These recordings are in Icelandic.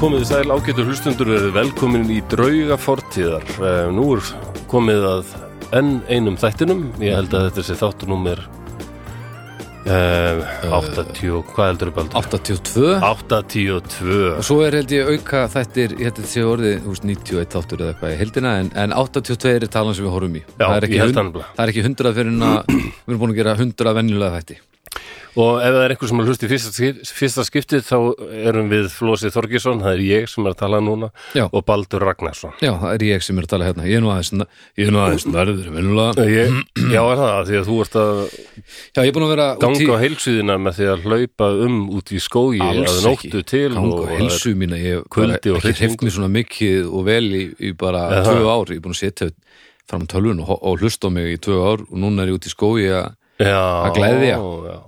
Komið sæl ágætur hlustundur verið velkomin í drauga fortíðar. Eh, Nú er komið að enn einum þættinum. Ég held að þetta sé þáttunúmer eh, 80, hvað heldur upp aldrei? 82 82. og svo er held ég auka þættir ég held að þetta sé orðið þú veist, 91 þáttur eða eitthvað í heldina en, en 82 er talan sem við horfum í það, er ég ekki held það hun- nefnilega. það er ekki 100 fyrir en að við erum búin að gera 100 venjulega þætti Og ef það er einhver sem er hlust í fyrsta, skip, fyrsta skiptið þá erum við Flósi Þorgesson, það er ég sem er að tala núna, Já. og Baldur Ragnarsson. já, það er ég sem er að tala hérna ég er nú aðeins, ég er nú aðeins nærður venjulega Eh, Ég, já, er það, því að þú ert að já, ég er búin að vera út í ganga á heilsuðina með því að hlaupa um út í skógi Alls að nóttu ekki. til ganga og- á heilsu mína ég bara kuldi og ekki hryllingur. hreift mér svona mikið og vel í, í bara Eða. tvö ár, ég er búin að setja fram tölvun og, og hlusta á mig í tvö ár og núna er ég út í skói að Já, Að gleðja. já.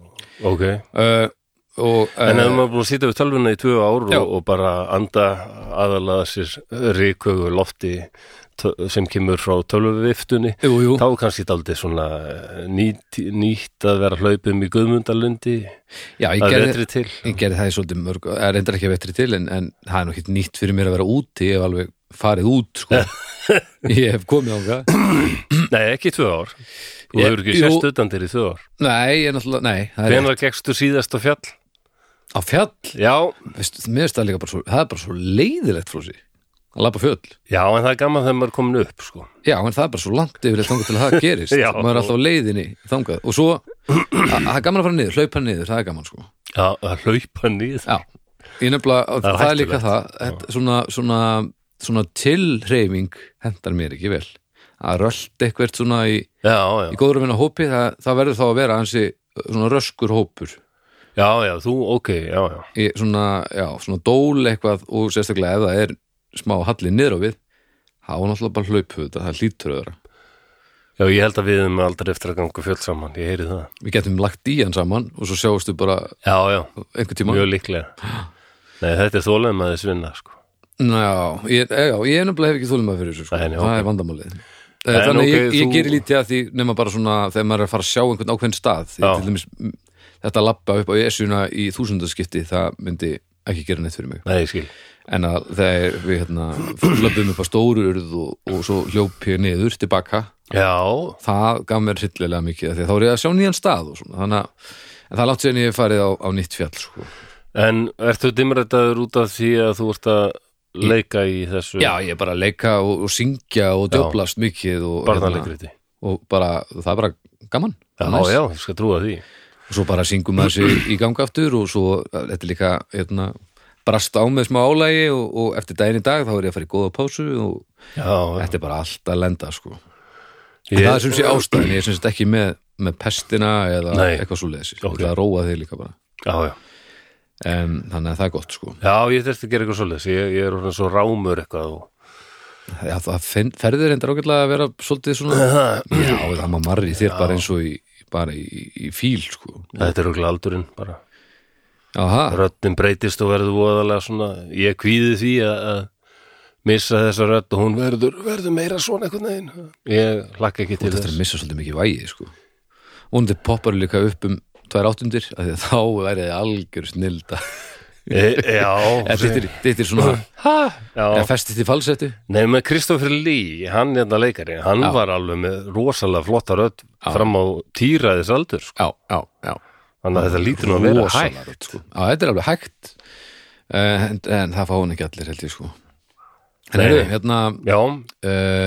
Ok, uh, og en eh, ef maður er búin að sýta við tölvuna í tvö ár Já. og, og bara anda aðalega sér ríkögu lofti tö- sem kemur frá tölvuviftunni jú, jú. þá er kannski daldið svona eh, nýtt, nýtt að vera hlaupum í Guðmundalundi Já, ég að gerði, vetri til ég gerði það í svolítið mörg eh, reyndar ekki að vetri til en, en það er nú ekkert nýtt fyrir mér að vera úti ég hef alveg farið út sko. ég hef komið ánga Nei, ekki í tvö ár Þú Ég- hefur ekki jú. sérst utan þér í tvö ár Nei, ég náttúrulega, nei það er Hvenær gekkstu síðast á fjall? á fjall Já, veist, mér finnst það líka bara svo, það er bara svo leiðilegt flósi að labba fjöll já, en það er gaman þegar maður er komin upp sko. Já, en það er bara svo langt yfirleitt þangað til að það gerist Já. maður er alltaf á leiðinni þangað og svo, að- að það er gaman að fara niður, hlaupa niður það er gaman sko Já, að hlaupa nýð Já, ég nefnilega, Það er það, er líka hættulegt. það þetta, svona, svona, svona tilhreyfing hendar mér ekki vel að rölt eitthvert svona í, Já, í já, góður minna hópi það, það verður þá að vera hansi svona röskur hópur já, já, þú, ok, já, já í svona, já, svona dól eitthvað og sérstaklega ef það er smá halli niður á við þá er náttúrulega bara hlaupu þetta, það hlýtur öðra Já, ég held að við erum aldrei eftir að ganga fjöld saman, ég heyri það. við getum lagt í hann saman og svo sjáumstu bara Já, já, einhvern tíma mjög líklega. Nei, þetta er þólega að þess vinna, sko. Já, ég, já, ég nefnilega hef ekki þólum fyrir þessu sko. Nei, nei, það ok. er vandamálið Eh, En, Þannig ok, ég, ég þú- gerir lítið að því nema bara svona þegar maður er að fara að sjá einhvern ákveðin stað því Já. til dæmis m, þetta lappa upp á esuna í þúsundaskipti það myndi ekki gera neitt fyrir mig Nei, ég skil. en að þegar við hérna löpum upp á stóru urð og, og svo hljóp ég niður tilbaka Já, það það gaf mér hryllilega mikið af því að þá er ég að sjá nýjan stað og svona þannig að en það látt sér en ég hef farið á, á nýtt fjall sko. en ertu dimrættaður út af því að þú ert að leika í þessu Já, ég er bara að leika og, og syngja og Já. djöblast mikið og, hérna, barnalegriti? og bara, það er bara gaman Já, Næs. já, ég skal trúa því. og svo bara syngum maður sér í ganga aftur og svo, þetta er líka hérna, brast á með smá álægi og, og eftir daginn í dag þá er ég að fara í góða pásu og Já, já. þetta er bara allt að lenda sko. Ég- það er sem sé ástæðin, ég er sem sé ekki með, með pestina eða Nei. eitthvað svo leðis Ok. okay. það róa þig líka bara Já, já. en, þannig að það er gott sko Já, ég þurfti að gera eitthvað svoleiðis. Ég, ég er orðin svo rámur eitthvað og... Já, það finn, ferðir reyndar ágætlega að vera svolítið svona já, það maður marri þér bara eins og í, bara í, í fíl sko Þetta er okkur aldurinn bara. Aha, Röddin breytist og verður voðalega svona, ég kvíði því að, að missa þessa rödd og hún verður, verður meira svona einhvern veginn. Ég hlakka ekki Þú til ert eftir þess. að missa svolítið mikið vægi sko. og þetta poppar líka upp um tvær áttundir, af því að þá væri þið algjör snilda E, já, þetta er- þetta er svona, já. eða festist í falsettu Nei, með Kristoffer Lee, hann hérna leikari, hann var alveg með rosalega flotta rödd fram á týraðis aldur, sko. já, já, já Þannig að þetta lítur nú að vera hægt. Rosalega rödd, sko. Já, þetta er alveg hægt Eh, en, en það fá hún ekki allir held ég sko en Nei, heyrðu, nei. hérna Já, uh,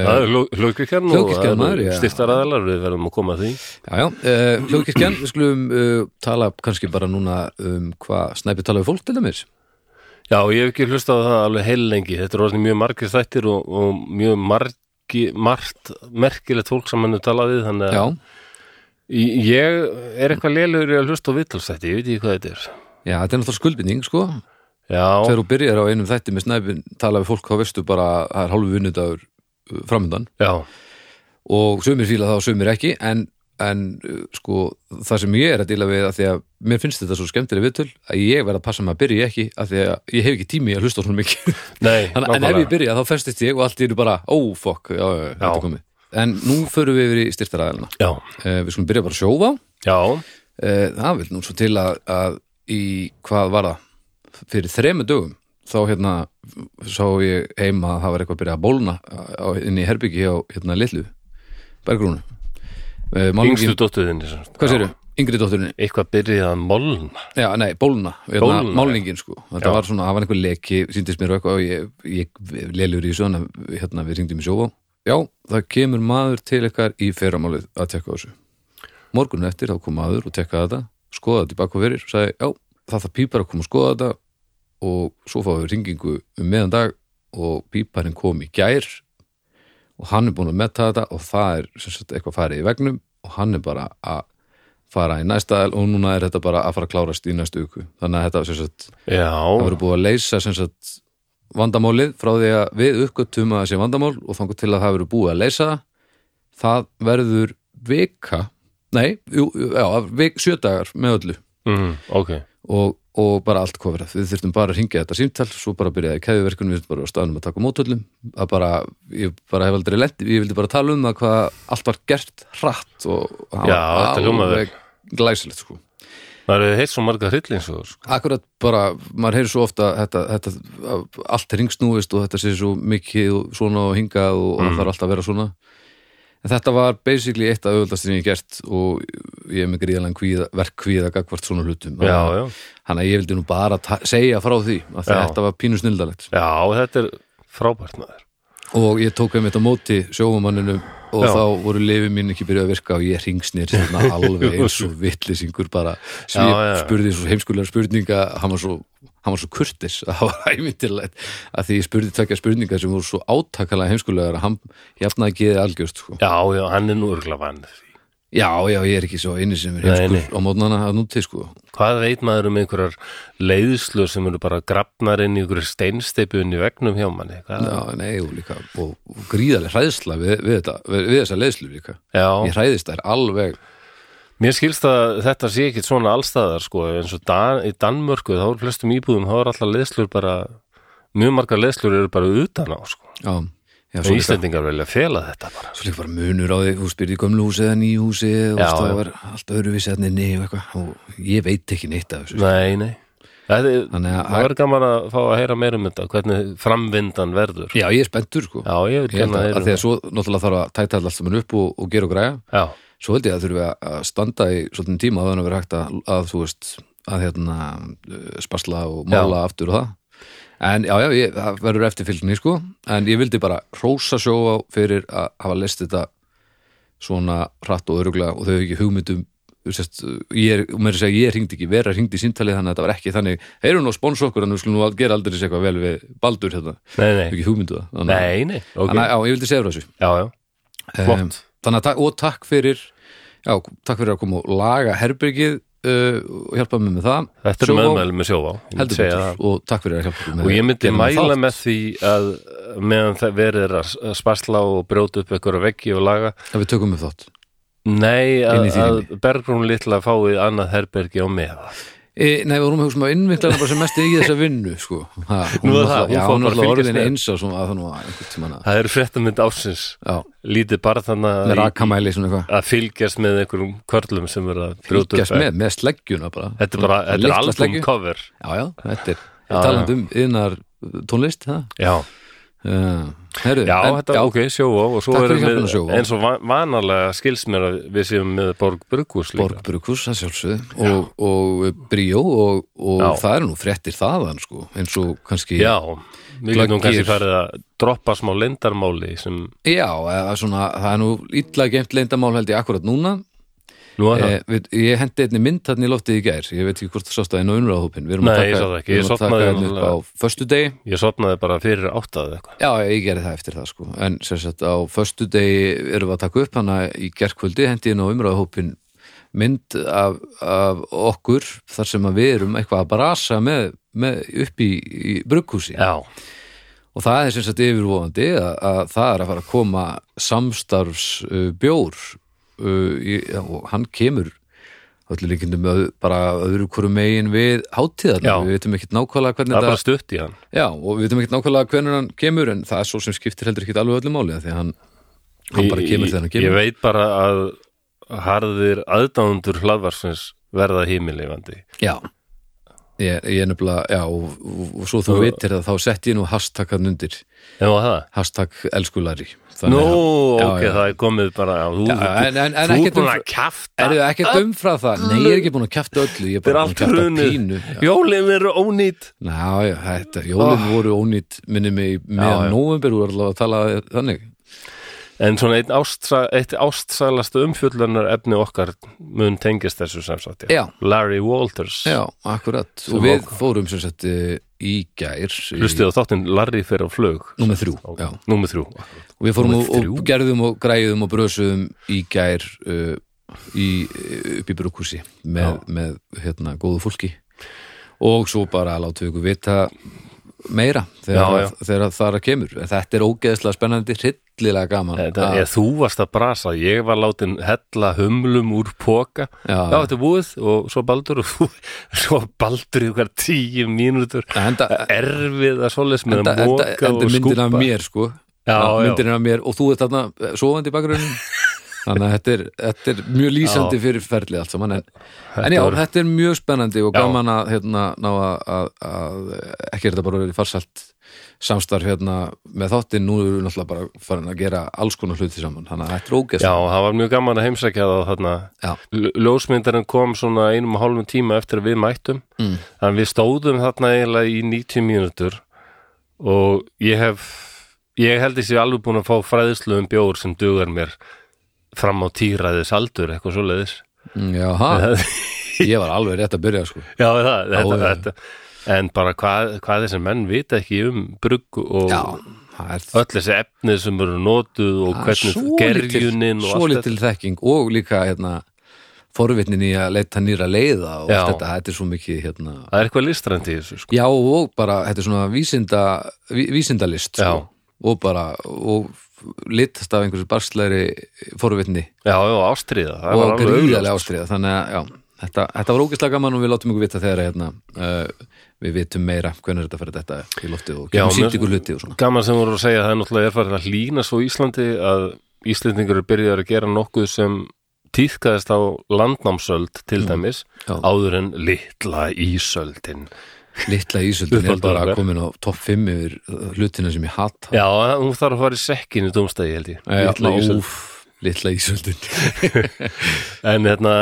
það er hlugkirkjarn og Hljóðkirkjan, maður, já. styrtaraðalar, við verðum að koma að því. já, já, uh, hljóðkirkjan við skulum uh, tala kannski bara núna um hvað snæpi tala við fólk til dæmis Já, ég hef ekki hlustað á það alveg heil lengi. Þetta er orðin mjög margir þættir og, og mjög margi, margt merkilegt fólk sem hann er talað við, þannig að já, Í- ég er eitthvað lélugur í að hlusta á vitalsætti, ég veit ekki hvað þetta er. já, þetta er náttúrulega skuldbindning sko Já, þegar þú byrjar á einum þætti með snæpin tala við fólk þá veistu bara að það er hálfu vinnudagur uh, framöndan já, og sumir fíla það og sumir ekki en, en uh, sko það sem ég er að díla við að því að mér finnst þetta svo skemmtileg viðtöl að ég verð að passa mig að byrja ekki að því að ég hef ekki tími í að hlusta á svona mikið nei, Þannig, en ef ég byrja þá festist ég og allt í eru bara ó oh, fokk, já, já, já, þetta Já. er komið en nú förum við yfir í styrtaræðina Já, uh, við skulum byrja bara að sjófa já, Eh, Það vil nú svo til að, að í hvað var það fyrir þremu dögum þá hérna sá ég heima að það var eitthvað að byrja að bólna á, inn í herbyggi hjá hérna Lillu Bergrúnu Eh, málningin- Yngstu dóttuðinni Hvað séru? Yngri dótturinni Eitthvað byrjaði að molna Já, nei, bólna, hérna, Bólna, málningin sko Þetta Já. var svona, það var einhver leki, síndist mér og eitthvað og ég, ég lelur í svona hérna, við ringdum í sjófá Já, það kemur maður til ykkar í fyrramálið að tekka á þessu Morgunum eftir þá kom maður og tekkaði þetta skoðaði þetta í bak og fyrir og sagði, já, það þarf pípar að koma og skoða þetta og svo fáum við ringingu um meðan dag og píparinn kom í gær og hann er búin að metta þetta og það er sem sagt eitthvað farið í vegnum og hann er bara að fara í næsta el og núna er þetta bara að fara að klárast í næstu viku þannig að þetta sem sagt, það Já, verður búið að leysa sem sagt vandamálið frá því að við uppgötum að það sé vandamál og þangur til að það verður búið að leysa það. það verður vika nei, jú, jú, já, vik, sjö dagar með öllu mm, ok og, og bara allt kofrað við þurftum bara að ringja þetta símtal svo bara byrjaði keðuverkunum, við þurftum bara á staðnum að taka mótöllum að bara, ég bara hef aldrei lent ég vildi bara tala um það hvað allt var gert hratt og það Já, var þetta hljómaði vel. alveg glæsilegt sko Það eru heitt svo marga hryllins og sko. Akkurat bara, maður heyrir svo ofta þetta, þetta, að allt er ringsnúist og þetta sé svo mikið og svona og hingað Mhm. og, og það þarf alltaf að vera svona en þetta var basically eitt af auðvöldast sem ég hef gert og ég er með gríðalega kvíða, verkkvíða gagvart svona hlutum Já, já, Þannig að ég vildi nú bara ta- segja frá því að Já. þetta var pínu snildalegt já, þetta er frábært maður og ég tók einmitt á móti sjófumanninum og Já. þá voru lifið mín ekki byrjuð að virka og ég ringsnir svona alveg eins og vittlisingur bara sem Já, ég já. spurði svo heimskulega spurninga hann var svo, hann var svo kurtis að það var æmyndirlegt að því ég spurði tvekja spurninga sem voru svo átakalega heimskulega að hann jafnaði ekki þið algjörst sko. Já, já, hann er nú örgla vann því já, já, ég er ekki svo eini sem er Nei, nei. heimskur á mótnana að núti sko. Hvað veit maður um einhverjar leiðslur sem eru bara grafnar inn í einhverju steinsteipu inn í vegnum hjá manni? Hvað? já, nei, og, líka, og, og gríðarlega hræðsla við, við, þetta, við, við þessa leðslu líka Já, ég hræðist þær alveg mér skilst að þetta sé ekkit svona allstæðar sko, eins og Dan, í Danmörku þá er flestum íbúðum, þá er alltaf leiðslur bara, mjög margar leiðslur eru bara utan á sko. já, já, En svo, líka, Íslendingar vilja fela þetta bara. svo líka bara munur á því þú spyrir í gömlu húsi eða nýju húsi og Já, það já. var allt öðruvísi að nynni og eitthvað og ég veit ekki neitt af þessu Nei, nei. Það er, Þannig að- það er gaman að fá að heyra meira um þetta, hvernig framvindan verður. já, ég er spenntur sko Já, ég vil ég held kenna að, heyra að um því að svo náttúrulega þarf að tæta allt saman upp og, og gera og græja Já, svo held ég að þurfum við að standa í svolítið tíma að þannig að vera hægt að, að þú veist að hérna uh, spasla og mála aftur og það en já, já, ég, það verður eftirfylgni sko en ég vildi bara rósa sjóa fyrir að hafa lest þetta svona hratt og öruglega og þau hefur ekki hugmyndum Sest, ég er, og meira að segja, ég hringdi ekki vera hringdi í síntalið þannig að þetta var ekki þannig heyrðu nú að sponsa okkur en við skulum nú að gera aldrei eitthvað vel við Baldur hérna, nei, Þau nei. ekki hugmyndu það þannig, að- Nei, nei, ok. þannig að já, ég vildi segja frá þessu Já, já, flott. Em, þannig að ta- og takk fyrir já, takk fyrir að koma og laga herbergið uh, og hjálpa mér með það Þetta er Sjóvá, meðmæli með sjóvá. ég myndi heldur segja það. betur og takk fyrir að hjálpa mér Og ég myndi gerðum mæla þátt. með því að uh, meðan það verður að s- að sparsla og brjóta upp einhverja veggi og laga að við tökum upp þátt Nei, Inn að, í að þýðinni. Bergrún litla fáið annað herbergi á meða e, nei, við vorum að hugsa um að innvikla hana bara sem mest í þessa vinnu sko. Nú ha, hún er náttúrulega- það, hún já, fór hún bara að er fylgjast orðin með. eins og svona að það nú að einhvern tímann að Það eru fréttamynd ásins já, Lítið bara þannig með að, rakamæli svona eitthvað að fylgjast með einhverjum körlum sem eru að brjóta Fylgjast upp vegg. með, með sleggjuna bara Þetta er bara, þetta er Litla album sleggju. cover já, já, þetta er Já, taland um yðnar tónlist það Já, uh, herru, já en- þetta, ok, sjóvá og svo Takk fyrir erum hjálpina, við, Sjóvá. eins og va- vanalega skils mér að við séum með Borg Brugus líka Borgbrukus, það sjálfsögðu og, og Bríó og, og Já. það eru nú fréttir þaðan sko, eins og kannski Já, við getum Glöggir. kannski farið að droppa smá lindarmáli sem, Já, eða svona, það er nú illa geimt leyndamál held ég akkurat núna nú er það eh, við, ég hendi einni mynd þarna í loftið í gær ég veit ekki hvort það sást það inn á umræðahópin við erum Nei, að ég sá taka, það ekki. við Ég erum að taka sofnaði hérna upp á föstudegi Ég sopnaði bara fyrir áttaði eitthvað. Já, ég gerði það eftir það sko en sem sagt á föstudegi erum við að taka upp hana í gerkvöldi hendi inn á umræðahópin mynd af, af okkur þar sem að við erum eitthvað að brasa með, með upp í, í brugghúsi Já, og það er sem sagt yfirvofandi að, að það er að fara að koma samstarfs uh, bjór uh, í, og hann kemur öllu líkindum öð, bara öðru hverju megin við Já. hátíðarnar, við veitum ekkert nákvæmlega hvernig það er þetta bara stutt í hann. Já, og við veitum ekkert nákvæmlega hvernig hann kemur en það er svo sem skiptir heldur ekkert alveg öllu máli af því að hann, hann bara Ég- kemur þegar hann Ég kemur veit bara að harðir aðdándur hlaðvarsins verða himilifandi. Já, ég, ég er nefnilega, já, og, og, og svo þú veitir að þá sett ég nú hashtagan undir Já, það hashtag elskulari Nú, já, ok, já. það er komið bara já, Þú, Já, en- en- en þú ekkert er búin um- að kjafta Er þið ekki að umfra það? Nei, ég er ekki búin að kjafta öllu, ég er Þetta er bara búin allt að kjafta hrunu pínu Já. Jólin eru ónýtt Já, já, þetta, jólin voru ónýtt minni mig Ah. Já, já. meðan nóvember voru allavega að tala þannig En svona einn ástsa, eitt ástsælasta umfjöllunar efni okkar mun tengist þessu sem sagt Já. Larry Walters Já, akkurat Sem og við ákvað. fórum sem sagt eh, í gær í- Hlustið á þáttinn Larry fyrir á flug Númer þrjú, já Númer þrjú og við fórum Númer og, og þrjú? gerðum og græðum og brösuðum í gær uh, í, uh, upp í brúkúsi með, með hérna góðu fólki og svo bara látum við ykkur vita meira þegar, Já, já. Að, þegar að þar að kemur en þetta er ógeðslega spennandi, hryllilega gaman Þetta, að, ég, Þú varst að brasa, ég var látin hella humlum úr póka Já, Já, þetta er búið og svo baldur og þú, svo baldur í okkar tíu mínútur að henda, erfið að svoleiðis með enda, að enda, móka enda og myndin af skúpa mér sko Já, Að já. myndin af mér og þú ert þarna eh, sofandi í bakgrunum þannig að þetta er, þetta er mjög lýsandi fyrir ferlið allt saman en, en já, var- þetta er mjög spennandi og Já. gaman að hérna, ná að, að, að ekki er þetta bara verið farsalt samstarf hérna með þáttinn nú erum við náttúrulega bara farin að gera alls konar hluti saman þannig að þetta er ógeðs Já, það var mjög gaman að heimsækja það þarna. Já. L- Ljósmyndarinn kom svona einum og hálfum tíma eftir að við mættum Mm. Þannig við stóðum þarna eiginlega í 90 mínútur og ég hef ég held ég sé alveg búin að fá fræðislu um bjór sem dugar mér fram á týraðis aldur, eitthvað svoleiðis Mm, já, ha, ég var alveg rétt að byrja sko. Já, það, þetta, já. þetta En bara hvað, hvað þessi menn vita ekki um brugg og já, það er öll þessi efnið sem eru notuð og Ah, hvernig gerjunin og svo allt litil þekking og líka hérna forvitnin í að leita nýra leiða og Já. allt þetta, þetta er svo mikið hérna Það er eitthvað listrænt í þessu sko. Já og bara, þetta er svona vísinda, ví, vísindalist Já. sko. og bara, og litast af einhversu barslæri forvitni Já, já, ástríða það var og alveg gríðarlega augljóst. ástriða þannig að, já, þetta, þetta var ógeðslega gaman og við látum ykkur vita þegar að, hérna, uh, við vitum meira hvernig þetta fyrir þetta í loftið og Já, getum mér- sínt ykkur hluti og svona Gaman sem voru að segja það er náttúrulega er farið að hlýna svo í Íslandi að Íslendingur eru byrjuðar að gera nokkuð sem týðkaðist á landnámsöld til dæmis Já. áður en litla ísöldin Litla Ísöldin er Uppáldar bara okkar. komin á topp 5 yfir uh, hlutina sem ég hata Já, hún þarf að fara í sekkin í dómstæði held ég Litla Litla ísöld Ísöldin Litla Ísöldin En hérna,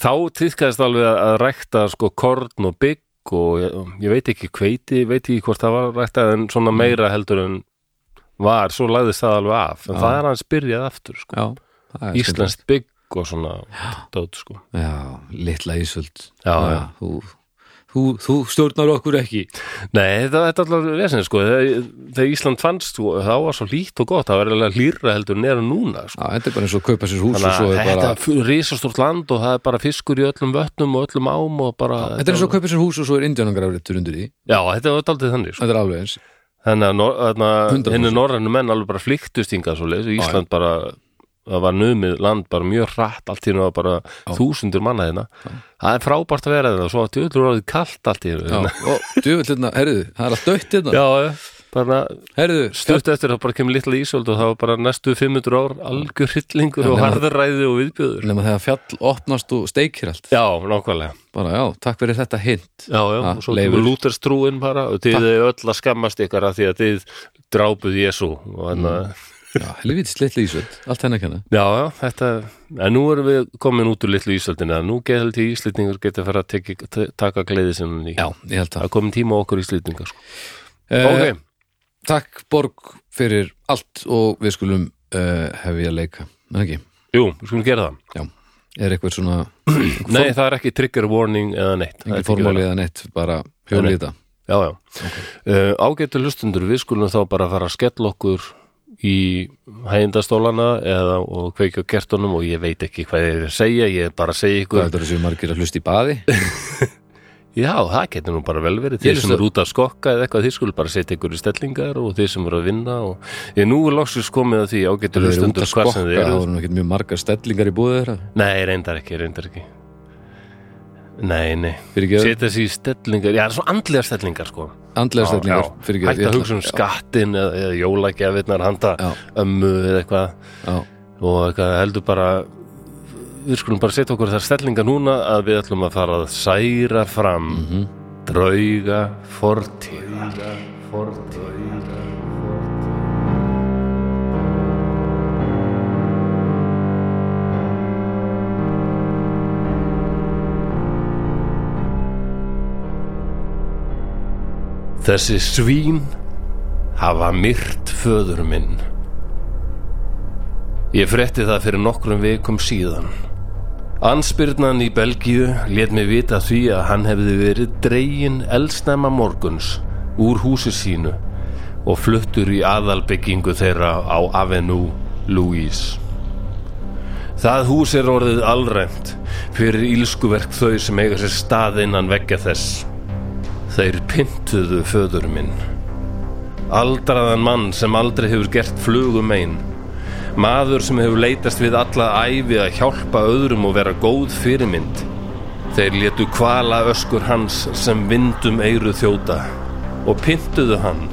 þá týðkaðist alveg að rækta sko korn og bygg og ég, ég veit ekki hveiti, veit ekki hvort það var ræktað en svona meira heldur en var, svo lagðist það alveg af en Já. það er hans byrjað aftur sko Já, það er skemmtilegt. Íslands bygg og svona dót sko Já, litla Ísöld Já, já. Þú, þú, þú stjórnar okkur ekki Nei, þetta, þetta er allar vesinn sko þegar, þegar Ísland fannst sko, það var svo lít og gott það var eiginlega hlýra heldur nera núna sko. Já, þetta er bara eins og kaupa sér hús og Þannig svo að er þetta bara bara... risastort land og það er bara fiskur í öllum vötnum og öllum ám og bara Þetta er eins og kaupa sér hús og svo er indjónangrafréttur undir því Já, þetta var daldið þannig sko. Þetta er alveg eins Þannig að nor- þarna- 100%. henni norrænu menn alveg bara flykktust hingað svo leys og Ísland bara það var numið land bara mjög hratt allt í hérna bara þúsundur manna hérna það er frábært að vera þetta svo að tjóðlur orðið kalt allt í Já, hérna og djöfull hérna, herðu, það er allt dött hérna Já, já, bara Herðu, stutt eftir þá bara kemur litla ísöld og það var bara næstu 500 ár algjör hryllingur Já, og nema- harðræði og viðbjöður nema þegar fjall opnast og steikir allt Já, nákvæmlega Bara, já, takk fyrir þetta hint Já, já, Ha, og svo Leifur. kemur lúterstrúin bara og þið er öll að skammast ykkar að því að þið drápuð Jésu og þannig Mm. að Já, helvítist litla Ísöld, allt henni að kenna Já, já, þetta en nú erum við komin út úr litlu ísöldinu að nú getur til íslendingur getur að fara að teki, t- taka gleði sinni ný Já, ég held Það það er komin tíma á okkur íslendingar sko. Eh, Ok, Takk Borg fyrir allt og við skulum uh, hefja leika, en ekki jú, við skulum gera það Já, er eitthvað svona Nei, það er ekki trigger warning eða neitt Það er ekki ekki verið. formálið eða neitt, bara hjólið í þetta Já, já. Okay. ágætu hlustundur, við skulum þá bara fara að skella okkur í hægindastólana eða og kveikja á kertunum og ég veit ekki hvað ég er að segja, ég er bara að segja Hvað ykkur. þetta er þessi margir að hlusta í baði? Já, það getur nú bara vel verið. Þeir Ég sem hlusta- eru út að skokka eða eitthvað, þeir skulum bara setja ykkur í stellingar og þeir sem eru að vinna og ég nú er loksins komið að því ágætu Þeir eru út að hlustundur hvað skokka, sem það þið eru. eru nú ekkert mjög margar stellingar í búið þeirra Nei, reyndar ekki, reyndar ekki. Nei, nei. Fyrir ekki Setja sér í stellingar, já, það er svo andlega stellingar sko. andlega Já, stellingar já. Fyrir hægt að hugsa um skattin eða, eða jólagjafinnar handa Já. ömmu eða eitthvað Já, og eitthvað heldur bara við skulum bara setja okkur þar stellinga núna að við ætlum að fara að særa fram drauga fortíðar fortíðar Þessi svín hafa myrt föður minn. Ég frétti það fyrir nokkrum vikum síðan. Ansbyrnan í Belgíu let mig vita því að hann hefði verið dregin elsnemma morguns úr húsi sínu og fluttur í aðalbyggingu þeirra á Avenue Louise. Það hús er orðið alræmt fyrir ílskuverk þau sem eiga sér stað innan veggja þess. Þeir pyntuðu föður minn. Aldraðan mann sem aldrei hefur gert flugum einn. Maður sem hefur leitast við alla æfi að hjálpa öðrum og vera góð fyrirmynd. Þeir létu kvala öskur hans sem vindum eyru þjóta og pyntuðu hann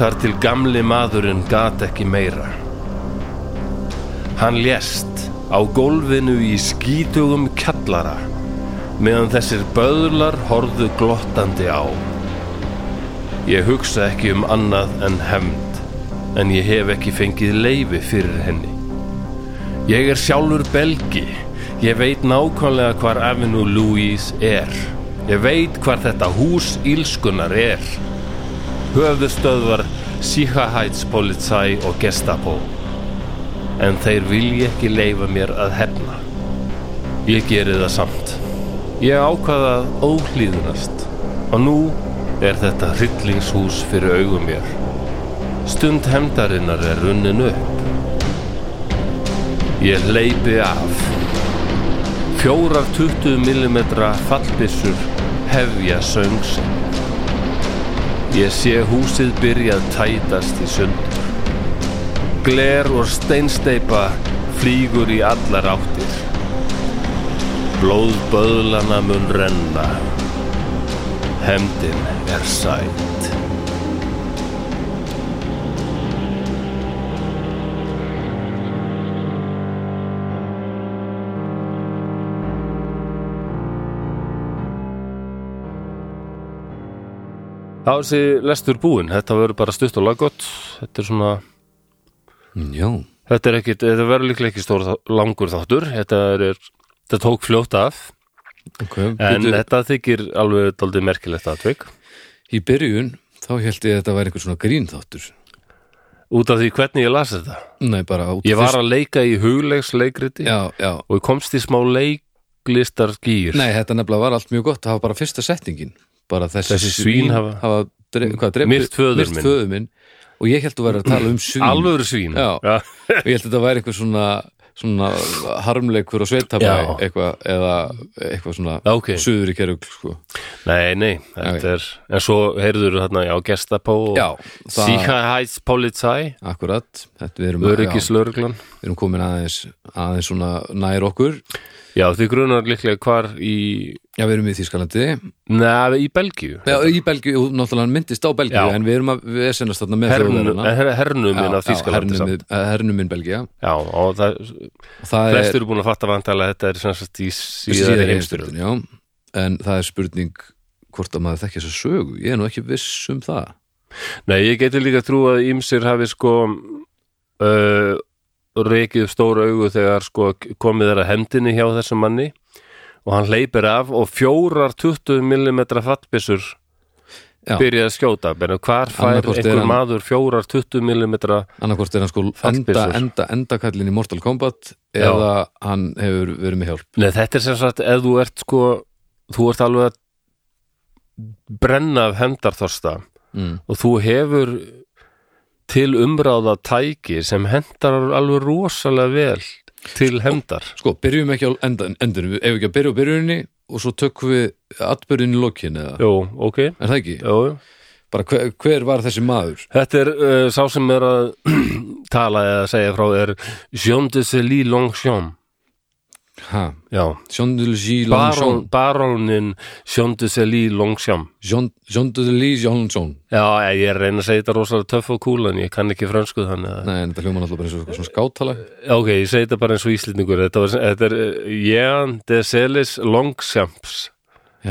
þar til gamli maðurinn gat ekki meira. Hann lést á gólfinu í skítugum kjallara meðan þessir böðlar horfðu glottandi á. Ég hugsa ekki um annað en hefnd, en ég hef ekki fengið leifi fyrir henni. Ég er sjálfur belgi, ég veit nákvæmlega hvar Avenue Louise er. Ég veit hvar þetta hús ílskunar er. Höfðustöðvar, Sicherheitspolizei og Gestapo. En þeir vilji ekki leifa mér að hefna. Ég geri það samt. Ég ákvaða að óhlýðunast og nú er þetta hryllingshús fyrir augum mér. Stund hefndarinnar er runnin upp. Ég leipi af. Fjórar 20mm fallbissur hefja söngs. Ég sé húsið byrjað tætast í sund. Gler og steinsteipa flýgur í allar áttir. Blóð böðlana mun renna. Hemdin er sætt. Þá er þessi lestur búinn, þetta verður bara stutt og laggott, þetta er svona, Mm, já, þetta er ekkit, þetta verður líklega ekki stór þá- langur þáttur, þetta er, þetta tók fljótt af, ok En Bíddu, þetta þykir alveg doldið merkilegt atvik í byrjun þá held ég að þetta væri einhver svona grínþáttur út af því hvernig ég las þetta. nei, bara út Ég var að leika í huglegsleikriti já, já, og ég komst í smá leiklistar skýr. nei, þetta nefnilega var allt mjög gott það var bara fyrsta setningin bara þessi, Þessi svín hafa- hafa dref, hvað, dref, Myrt föður minn. föður minn og ég held að vera að tala um svín Mm. Alvöru svín. Já. og ég held að þetta væri eitthvað svona svona harmleikur og sveitabæ Já. eitthvað, eða eitthvað svona Já, ok. suður í kerugl sko. Nei, nei, þetta er, en svo heyrður þarna, já, gestapó já, og Sicherheitspolizei, akkurat þetta við erum, já, öryggislörglan. við erum komin aðeins aðeins svona nær okkur Já, því grunar líklega hvar í, já, við erum í Þískalandi neða, í Belgíu. já, í Belgíu, og náttúrulega myndist á Belgíu Já. en við erum að við sennast þarna með Hernum, Þjóðverjana. hernumin af Já, já, Þýskalandi samt. hernumið- eh, hernumin Belgía Já, og það, það flestur eru búin að fatta vantalega að þetta er sem sagt í síðari síðari heimstyrjum. heimstyrjöldin, já en það er spurning hvort að maður þekki þessa sögu ég er nú ekki viss um það Nei, ég geti líka trú að ýmsir hafi sko uh, reikið upp stór augu þegar sko komið þeirra hendinni hjá þessum manni og hann leipir af og fjórar 20mm fattbissur Já. byrjaði að skjóta Menna, hvar fær Annaðhvort er einhver hann- maður fjórar 20mm annarkvort er hann sko enda, Fallbyssur. enda, enda kallin í Mortal Kombat eða hann hefur verið með hjálp Nei, þetta er sem sagt ef þú ert sko þú ert alveg að brenna af hendarþorsta mm. og þú hefur til umráða tæki sem hendar alveg rosalega vel til hendar sko, byrjum ekki á enda, endunum ef ekki að byrja á byrjuninni og svo tökum við atbyrjunni í lokin eða, Jú, ok er það ekki? Jú, jú. bara hver, hver var þessi maður? Þetta er uh, sá sem er að tala eða segja frá er Jean de Célie Longchamp Ha, Já, Jean de Lee Baron, Longchamp baronin Jean de Célie Longchamp Jean, Jean de Lee Longchamp Já, ég er að reyna að segja þetta rosalega töff og kúl en ég kann ekki frönskuð hann eða... nei, en þetta hljóma náttúrulega bara eins og eitthvað svona skáttala Ok, ég segi eh, þetta bara eins og íslendingur Þetta, var, þetta er uh, Jean de Célis Longchamps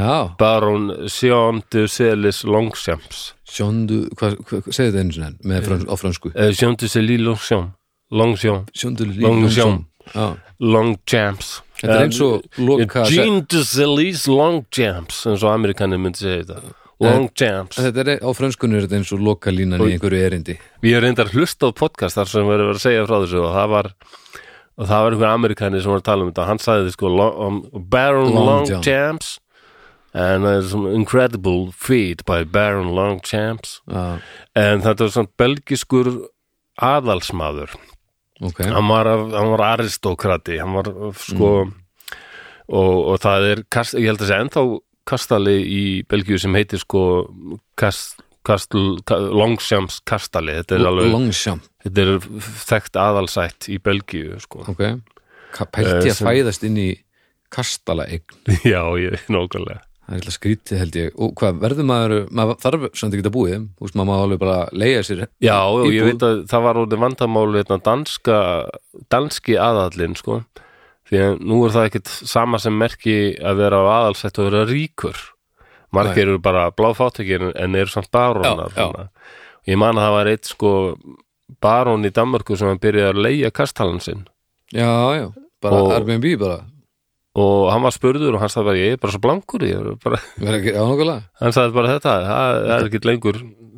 Já, Barón Jean de Celis Longchamps sjóndu, hvað, hvað, hvað segðu þetta einu sinni enn með frans, á fransku? Eh, Jean de Celis Longchamps Longchamps Sjóndu Longsjón. Já, Longchamps þetta er eins og loka, Eh, Jean de Celis Longchamps eins og amerikanir myndi segja þetta Longchamps þetta er á franskunni er þetta eins og loka línan í einhverju erindi. Við erum reyndar hlust á podcast þar sem verður að segja frá þessu og það var og það var einhver amerikanir sem var að tala um þetta hann sagði þið sko lo- um, Baron Longchamps. Longchamps and there's an incredible feat by Baron Longchamps Já, en þetta var svona belgiskur aðalsmaður ok, hann var, af- hann var aristokrati hann var sko og, og það er, kast, ég held að segja ennþá kastali í Belgíu sem heitir sko kast, kastul, ka, Longchamps kastali þetta er, alveg, langsjám, þetta er þekkt aðalsætt í Belgíu sko. ok. Ka- Eh, Pælti að sem- fæðast inn í kastala eign. já, ég, nákvæmlega Það er eitthvað skrítið held ég og hvað verður maður, maður þarf samt ekki að búið þú veist maður má alveg bara leiða sér já, og ég Íbúð. veit að það var orðið vandamál hérna, danska, danski aðallinn sko, því að nú er það ekkit sama sem merki að vera á aðalsætt og vera ríkur margir eru bara bláfáttekir en eru samt barónar Já, já. svona. ég man að það var eitt sko barón í Danmörku sem hann byrjaði að leigja kastalan sinn Já, já, bara Og- Airbnb bara og hann var spurður og hann sagði bara ég er bara svo blankur ég er bara, verður ekki ánákulega hann sagði bara þetta það það er ekkit lengur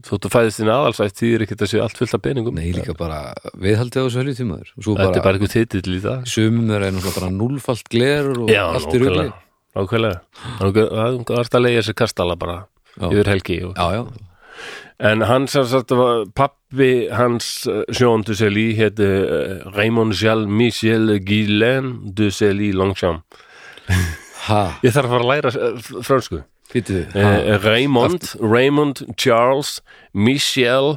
þóttu fæðist þín aðalsætt þýðir ekkit að séu allt fullt af peningum Nei, líka bara viðhaldið á þessu helju tímaður og svo þetta er bara, bara eitthvað titill í dag sumum þeirra er náttúrulega bara núlfalt glerur og Já, allt er ugli nákvæmlega Nákvæmlega Þannig að það leiði sér kastala bara Já. yfir helgi og... Já, já, En hann sem sagt var pappi hans eh, Jean de Sely héti eh, Raymond Charles Michel Guillain de Sely Longchamp ha, Ég þarf að fara að læra eh, fr- fransku býttu eh, Raymond, Raymond Charles Michel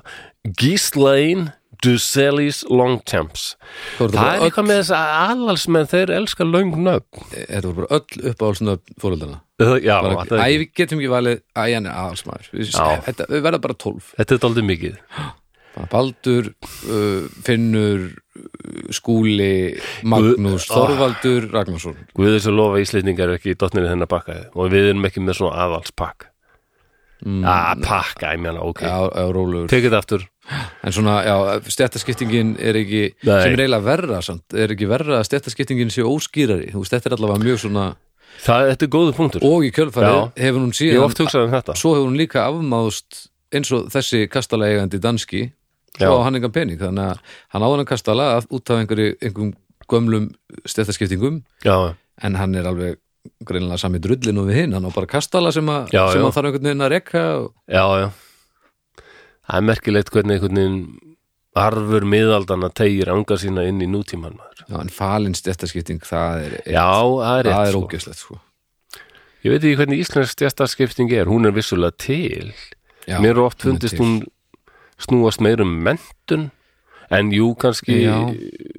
Ghislaine de Selys Longchamps Það er eitthvað með þess að allalsmenn þeir elska löngnöfn Þetta voru bara öll uppáhalsnöfn fóröldana Eh, Já, Bara- þetta er- Æ, við getum ekki valið, æ, hann er aðalsmaður Við- e, Já. Þetta, við verðum bara tólf þetta er daldið mikið Bara Baldur, uh, Finnur, uh, Skúli, Magnús, Ah. Þorvaldur, Ragnarsson. Guðið sem lofa íslendingar eru ekki í dotninni þennan bakka og við erum ekki með svona aðalspakk mm, að pakka, ég meina, ok Já, já, rólegur. tekið þetta aftur, En svona, já, stjættaskiptingin er ekki, Nei. sem er eiginlega verra samt, er ekki verra að stjættaskiptingin sé óskýrari. Þú veist, þetta er allavega mjög svona, það, þetta er góðu punktur og í kjölfarið hefur hún ég síðan, hef oft hugsað um þetta svo hefur hún líka afmáðst eins og þessi kastalegandi danski, Já. svo á hann engan pening, þannig að hann á hann kastala að- út af einhverju, einhverjum gömlum stjættaskiptingum já, en hann er alveg greinilega sami drullin og við hinn, hann á bara kastala sem, a, Já, sem já. hann þarf einhvern veginn að rekka og, já, já það er merkilegt hvernig einhvern veginn arfur miðaldana tegir anga sína inn í nútímann maður. já, en falin stjættaskipting það er, já, það er það rétt er sko. ógjöslegt sko. ég veit ekki hvernig íslensk stjæstaskipting er hún er vissulega til Já, mér er oft hún er fundist til. hún snúast meir um mentun en jú, kannski Já.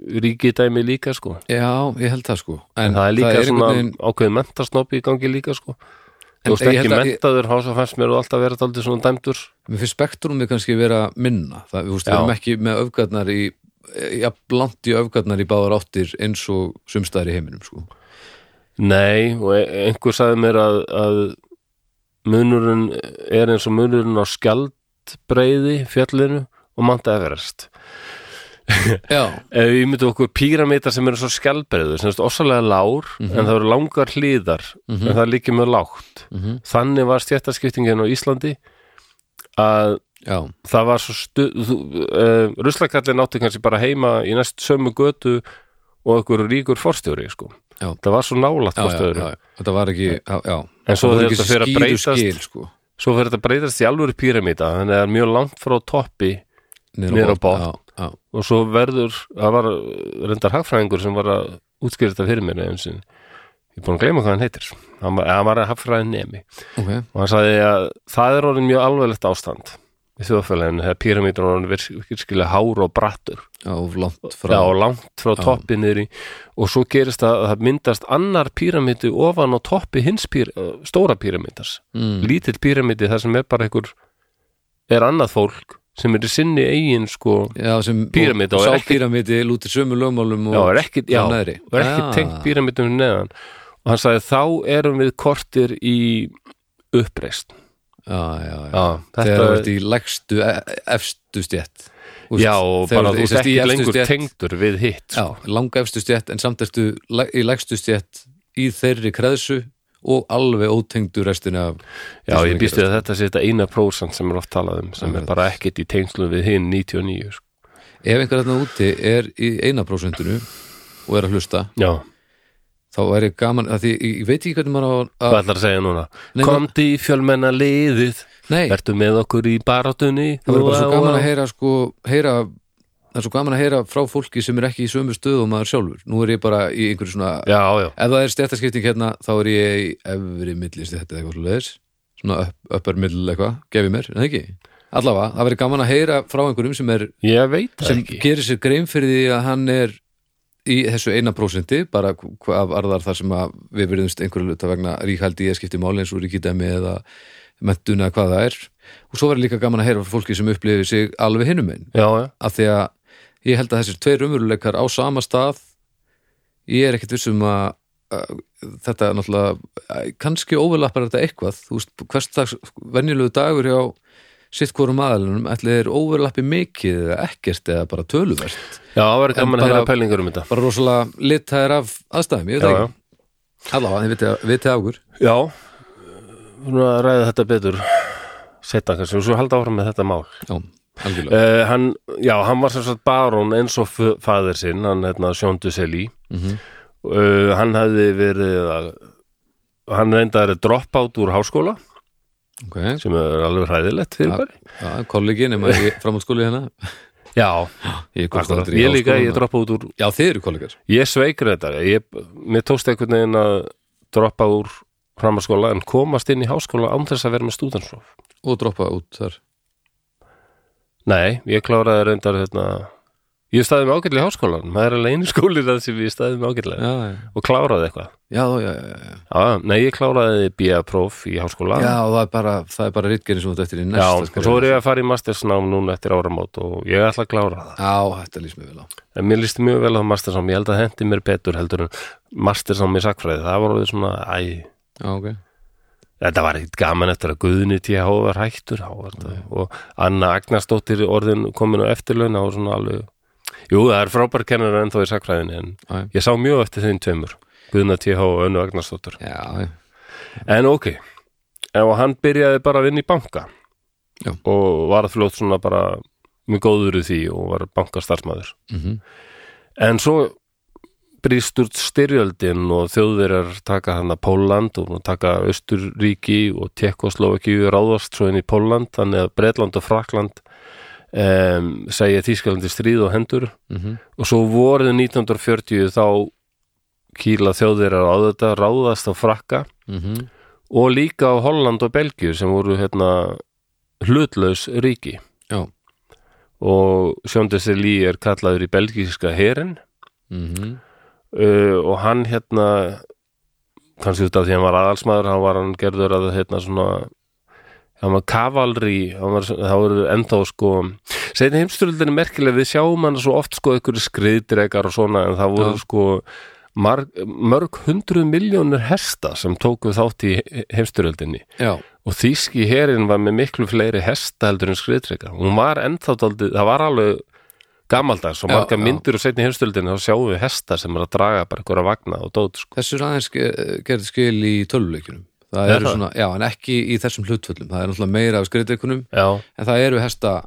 ríkidæmi líka sko já, ég held það sko en það er líka svona einhvern veginn, ákveðið mentasnoppi í gangi líka sko En þú veist ég ekki held að- mentaður hása fannst mér og alltaf verið aldrei svona dæmdur mér finnst spektrumið kannski vera minna það, við, veist, við Já. erum ekki með öfgarnar í já, blant í öfgarnar í báðar áttir eins og sumstaðar í heiminum sko. nei og e- einhver sagði mér að, að munurinn er eins og munurinn á skjaldbreiði fjallinu og Mount Everest já, ef við myndum okkur píramítar sem eru svo skjaldbreiður sem er ossalega lár en það eru langar hlýðar en það er líka mjög lágt Mhm. þannig var stjættaskiptingin á Íslandi að já, það var svo stu, þú, uh, ruslakallin átti kannski bara heima í næst sömu götu og einhver ríkur forstjóri sko. Já. það var svo nálægt já, já, forstjóri já, þetta var ekki já, já. en svo Það voru þegar ekki þetta fyrir að skýru breytast skil, sko, svo fyrir þetta að breytast í alvöru píramíta þannig að það er mjög langt frá toppi Niður á niður á botn. botn. já, já. og svo verður, það var uh, reyndar hagfræðingur sem var að útskýra þetta fyrir mér einu sinni, ég er búin að gleyma hvað hann heitir hann var, hann var að hagfræðin nemi ok og hann sagði að það er orðin mjög alveglegt ástand í þjóðfélaginu þegar píramítur er orðin virk- virkilega hár og brattur Já, of langt frá Já, langt frá toppi niður í og svo gerist það að það myndast annar píramíti ofan á toppi hins pír, eh, stóra píramítars mm. lítill píramíti þar sem er bara einhver er annað fólk sem er í sinni eigin sko Já, sem Píramída og er og, og sá ekki- píramídi lútir sömu lögmálum og já, er ekki, já, og neðri. og er ekki Ah. tengt píramítum neðan og og hann sagði þá erum við kortir í uppreist já, já, já. Já, þegar þú þetta ert í lægstu, e- efstu stjætt Já, og bara þú ert ekki lengur tengdur við hitt já, langa efstu stjætt en samt ertu læ- í lægstu stjætt í þeirri kreðsu og alveg ótengdu restina af Já, því sem ég er býst gerast. við að þetta sé þetta eina prósant sem er oft talað um sem er Akkurat. bara ekkert í tengslum við hinn 99 sko. ef einhver þarna úti er í eina prósentinu og er að hlusta Já, þá er ég gaman að því ég ég veit ekki hvernig maður á hvað að ætlar að segja núna? Nei, Komdi í fjölmenna liðið nei, Vertu með okkur í barátunni það verður bara Úa, svo úa. gaman að heyra sko, heyra það er svo gaman að heyra frá fólki sem er ekki í sömu stöðu og maður sjálfur, nú er ég bara í einhverju svona, Já, já, ef það er stjættaskipting hérna þá er ég í efri milli stjætti eða eitthvað svo leiðis, svona upp, uppar mill eitthvað, gefi mér, en ekki allavega, það verður gaman að heyra frá einhverjum sem er ég veit það sem ekki gerir sér grein fyrir því að hann er í þessu eina prósenti bara hvað varðar þar sem að við verðumst einhverju luta vegna ríkaldi ég skipti máli eins og ríkidæmi eða mentuna hvað það er og svo verður líka gaman að heyra frá fólki sem upplifir sig alveg hinum einn Já, já, af því að ég held að þessir tveir umveruleikar á sama stað ég er ekkert viss um að, að þetta náttúrulega að, kannski óverlappar þetta eitthvað þú veist, hverstags venjulegu dagur hjá sitt hvorum aðalunum ætli er óverlappi mikið eða ekkert eða bara töluvert já, það verður gaman að bara- heyra pælingur um þetta bara rosalega litaðir af aðstæðum, ég veit Já, það já, ekki allavega, þið vitið- vitið af okkur já Svona að ræða þetta betur Setta kannski, og svo halda áfram með þetta mál já, algjörlega uh, hann, Já, hann var sem sagt barón eins og f- faðir sinn, hann hérna Sjóndu Selí mm uh, Hann hafði verið að Hann reyndaði að droppa át úr háskóla ok, sem er alveg hræðilegt fyrir Já. bara já, kollegi nema ég framhaldsskóli hérna Já, ég, komst akkurat, aldrei í ég líka, háskólann. ég droppa út úr já, þið eru kollegar Ég sveik reyndar, ég, mér tókst einhvern veginn að droppa úr framhanskóla en komast inn í háskóla án þess að vera með stúdenslof. og droppa út þar Nei, ég kláraði reyndar hérna, ég staði með ágætlega í háskólan, maður er alveg einu skóli það sem ég staði með ágætlega já, já, og kláraði eitthvað. já, já, já, já. Já, já, nei, ég kláraði BA-próf í háskóla. já og það er bara, það er bara ritgerinn sem þú þetta eftir í Já, næsta og svo er ég að fara í mastersnám núna eftir áramót og ég ætla að klára það. já, þetta lýst mér vel á En mér líst mjög vel á mastersnám, ég held að hendi mér betur heldur en mastersnám í sakfræði, það var orðið svona, æ, já, ok, Þetta var ekkert gaman eftir að Guðni T.H. var hættur á, Mm. og Anna Agnarsdóttir orðin komin á eftirlauna og svona alveg Jú, það er frábær kennar ennþá í sakfræðinni en já, ég sá mjög eftir þeim tveimur Guðna T.H. og Önnu Agnarsdóttir já, já. En ok, en og hann byrjaði bara að vinna í banka Já. og var fljótt svona bara mjög góður í því og var bankastarfsmæður Mm En svo brýst úr styrjöldin og þjóðverjar taka hann að Póland og taka Östurríki og Tekkoslovakíu ráðast svo inn í Póland þannig að Bretland og Frakland um, segja Þískalandi stríð og hendur Mm -hmm. og svo voruð 1940 þá kýla þjóðverjar á þetta ráðast á Frakka Mm -hmm. og líka á Holland og Belgíu sem voru hérna hlutlaus ríki já. og Sjóndessi Lý er kallaður í belgíska herin Mm -hmm. uh, og hann hérna kannski út af því hann var aðalsmaður hann var hann gerður að hérna svona hann var kavalri hann var, það voru ennþá sko segni heimsturöldin er merkileg við sjáum hann svo oft sko ykkur skriðdrekar og svona en það voru Já. sko marg, mörg hundruð miljónur hesta sem tóku þátt í heimsturöldinni já, og þýski herin var með miklu fleiri hesta heldur en skriðdrekar hún var ennþá daldið, það var alveg gamaldags og Já, marga já. myndir og setni heimstöldin þá sjáum við hesta sem er að draga bara einhverja vagna og dót sko. þessu er aðeins ge- gerði skil í tölvuleikjunum það Er eru það? svona, já, en ekki í þessum hlutföllum það er náttúrulega meira af skriðdreikunum já, en það eru hesta,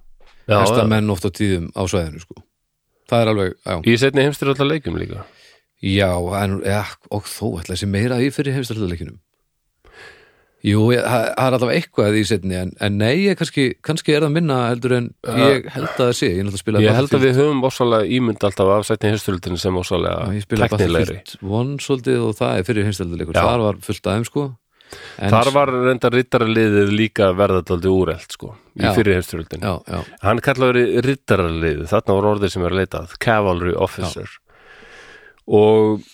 já, hesta já. menn oft á tíðum á svæðinu sko. það er alveg, já, í setni heimstöldin leikum líka Já, en, ja, og þó ætla þessi meira í fyrir heimstarleikinum Jú, ég- það það er allavega eitthvað í setni en, en nei, ég kannski, kannski er það minna heldur en ég held að það sé Ég, náttúrulega Uh, spilaði ég held að Battlefield- við höfum ósalega ímynd alltaf af setni heimstöldin sem Já, ég ósalega spilaði teknilegri Battlefield 1 svolítið og það er fyrir heimstarleikur Já. Þar var fullt aðeim sko en, þar var reyndar rittaraliðið líka verðaldaldi úrelt sko, í Já. fyrir heimstöldin Já, já, Hann kallaður rittaralið, þarna voru orðið sem er að leitað, cavalry officer og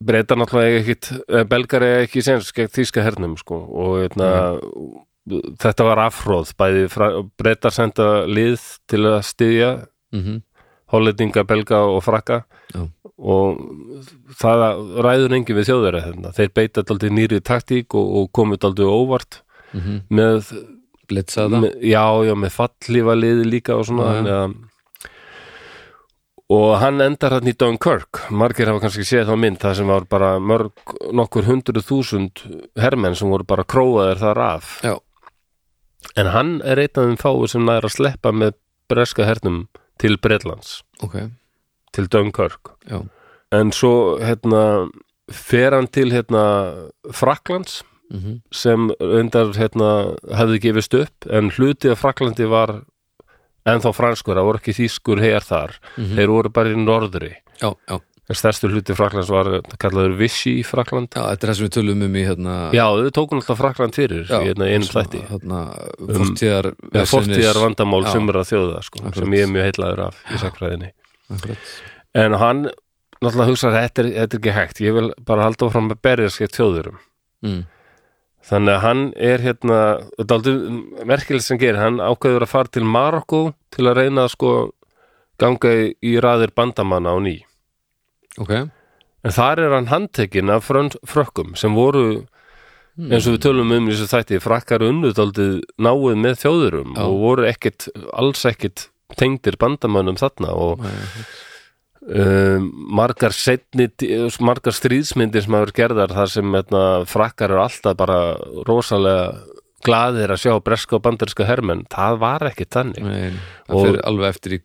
breyta náttúrulega ekkit, eh, belgar er ekki sens gegn þýska hernum sko og hérna, eitna, þetta var afhróð, bæði fra- breytar senda lið til að styðja mhm, hollendinga, belga og frakka Já. og það ræður engin við þjóðverið hérna. þeir beita daldið nýri taktík og, og komu daldið óvart mm -hmm. með, blitsaða með, já, já, með fallífa liði líka og svona Já, já. þannig að Og hann endar hann í Dunkirk, margir hafa kannski séð þá mynd, það sem var bara mörg, nokkur hundruð þúsund hermenn sem voru bara króaðir þar af. Já. En hann er einn af þeim fáur sem nær að sleppa með breska hernum til Bretlands, ok, til Dunkirk. já, En svo hérna, fer hann til hérna, Fraklands mm sem undar hérna, hefði gefist upp en hluti af Fraklandi var ennþá franskur, það voru ekki þýskur hér þar. Mhm. Þeir voru bara í norðri. já, já En stærstu hluti Fraklands var kallaður Vichy í Frakland. Já, þetta er það sem við tölum um í hérna Já, þau tókum alltaf Frakland fyrir Já, í hérna, einum svona, þætti. Um, Hérna, fortíðar Ja, Fortíðar vandamál Já. sumra þjóða sko, Akkurat. sem ég er mjög heillaður af í sakfræðinni. Akkurat. en hann náttúrulega hugsaði þetta er, þetta er ekki hægt ég vil bara halda áfram að berja skeitt þjóðurum mm. þannig að hann er hérna þetta er aldrei merkilegt sem gerir hann ákveður að fara til Marokko til að reyna að sko ganga í, í raðir bandamanna á ný Ok, en þar er hann handtekinn af frönd, frökkum sem voru Hmm. eins og við tölum um í þessu þætti frakkar unnudaldið náið með þjóðurum Já. og voru ekkit, alls ekkit tengdir bandamönnum þarna og Nei, um, margar setni margar stríðsmyndir sem hafa verið gerðar þar sem etna, frakkar eru alltaf bara rosalega glaðir að sjá breska og banderska hermenn það var ekki þannig nei, það Og- fyrir alveg eftir í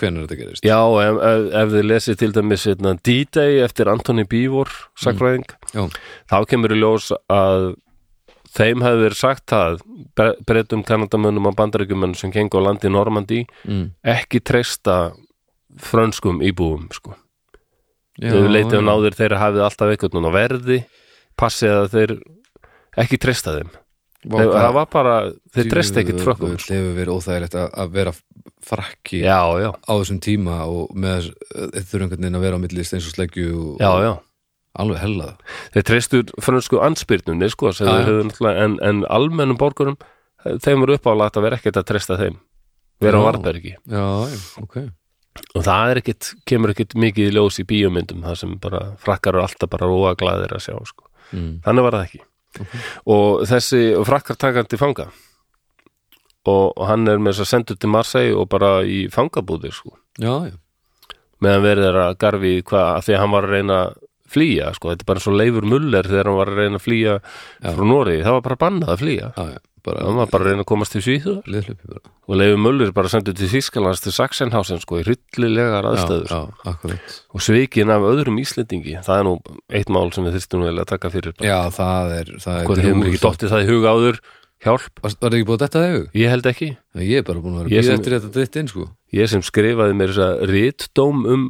hvenær þetta gerist já, ef, ef, ef þið lesið til dæmis etna, D-Day eftir Antoni Bívor sakfræðing, Mm. Já. þá kemur í ljós að þeim hefði verið sagt það Bre- breytum kanadamönnum og bandaríkjumönnum sem gengur á landi Normandi mm. ekki treysta frönskum íbúum sko já, þau um leitið og já. náður þeirra hafið alltaf einhvern veginn á verði passið að þeir ekki treysta þeim Vá, þeir, hvað- það var bara, þeir treysta ekki Djöfull, frökkum sko. Það hefur verið óþægilegt að, að vera frakki já, já, á þessum tíma og með þess eh, þurfa einhvern veginn að vera á milli steins og sleggju og já, já alveg hellað þeir treystu frönsku anspyrnunni sko, sem Já, þeir já. höfðu náttúrulega- en, en almennum borgurum eh, þeim eru uppálagt að vera ekkert að treysta þeim vera á Já. varbergi Já, já, ok og það er ekkit, kemur ekkit mikið í ljós í bíómyndum það sem bara frakkar eru alltaf bara róa glæðir að sjá sko. mm. þannig var það ekki Mhm. og þessi frakkar takandi fanga og, og hann er með þess að sendur til Marseille og bara í fangabúðir sko. Já, já, meðan verið er að garfi í hvað af því að hann var að reyna að flýja sko. þetta er bara svo leifur muller þegar hann var að reyna að flýja frá Nóri, það var bara bannað að flýja já, já bara hann var bara að reyna að komast til Svíþjóðar liðhlaupi bara og leifur muller bara sendur til Þískalands til Saxenhausen sko, í hryllilegar aðstæður Já, já, akkurat og svikin af öðrum Íslendingi það er nú eitt mál sem við þyrstum vel að taka fyrir bara. Já, það er, það er hvað hefur mér ekki drjúgur- dottið það í huga áður hjálp, Var það ekki búið að detta þegu? ég held ekki Ég er bara búin að vera að Ég býða sem- eftir þetta ditt inn sko ég sem skrifaði mér þess að rítdóm um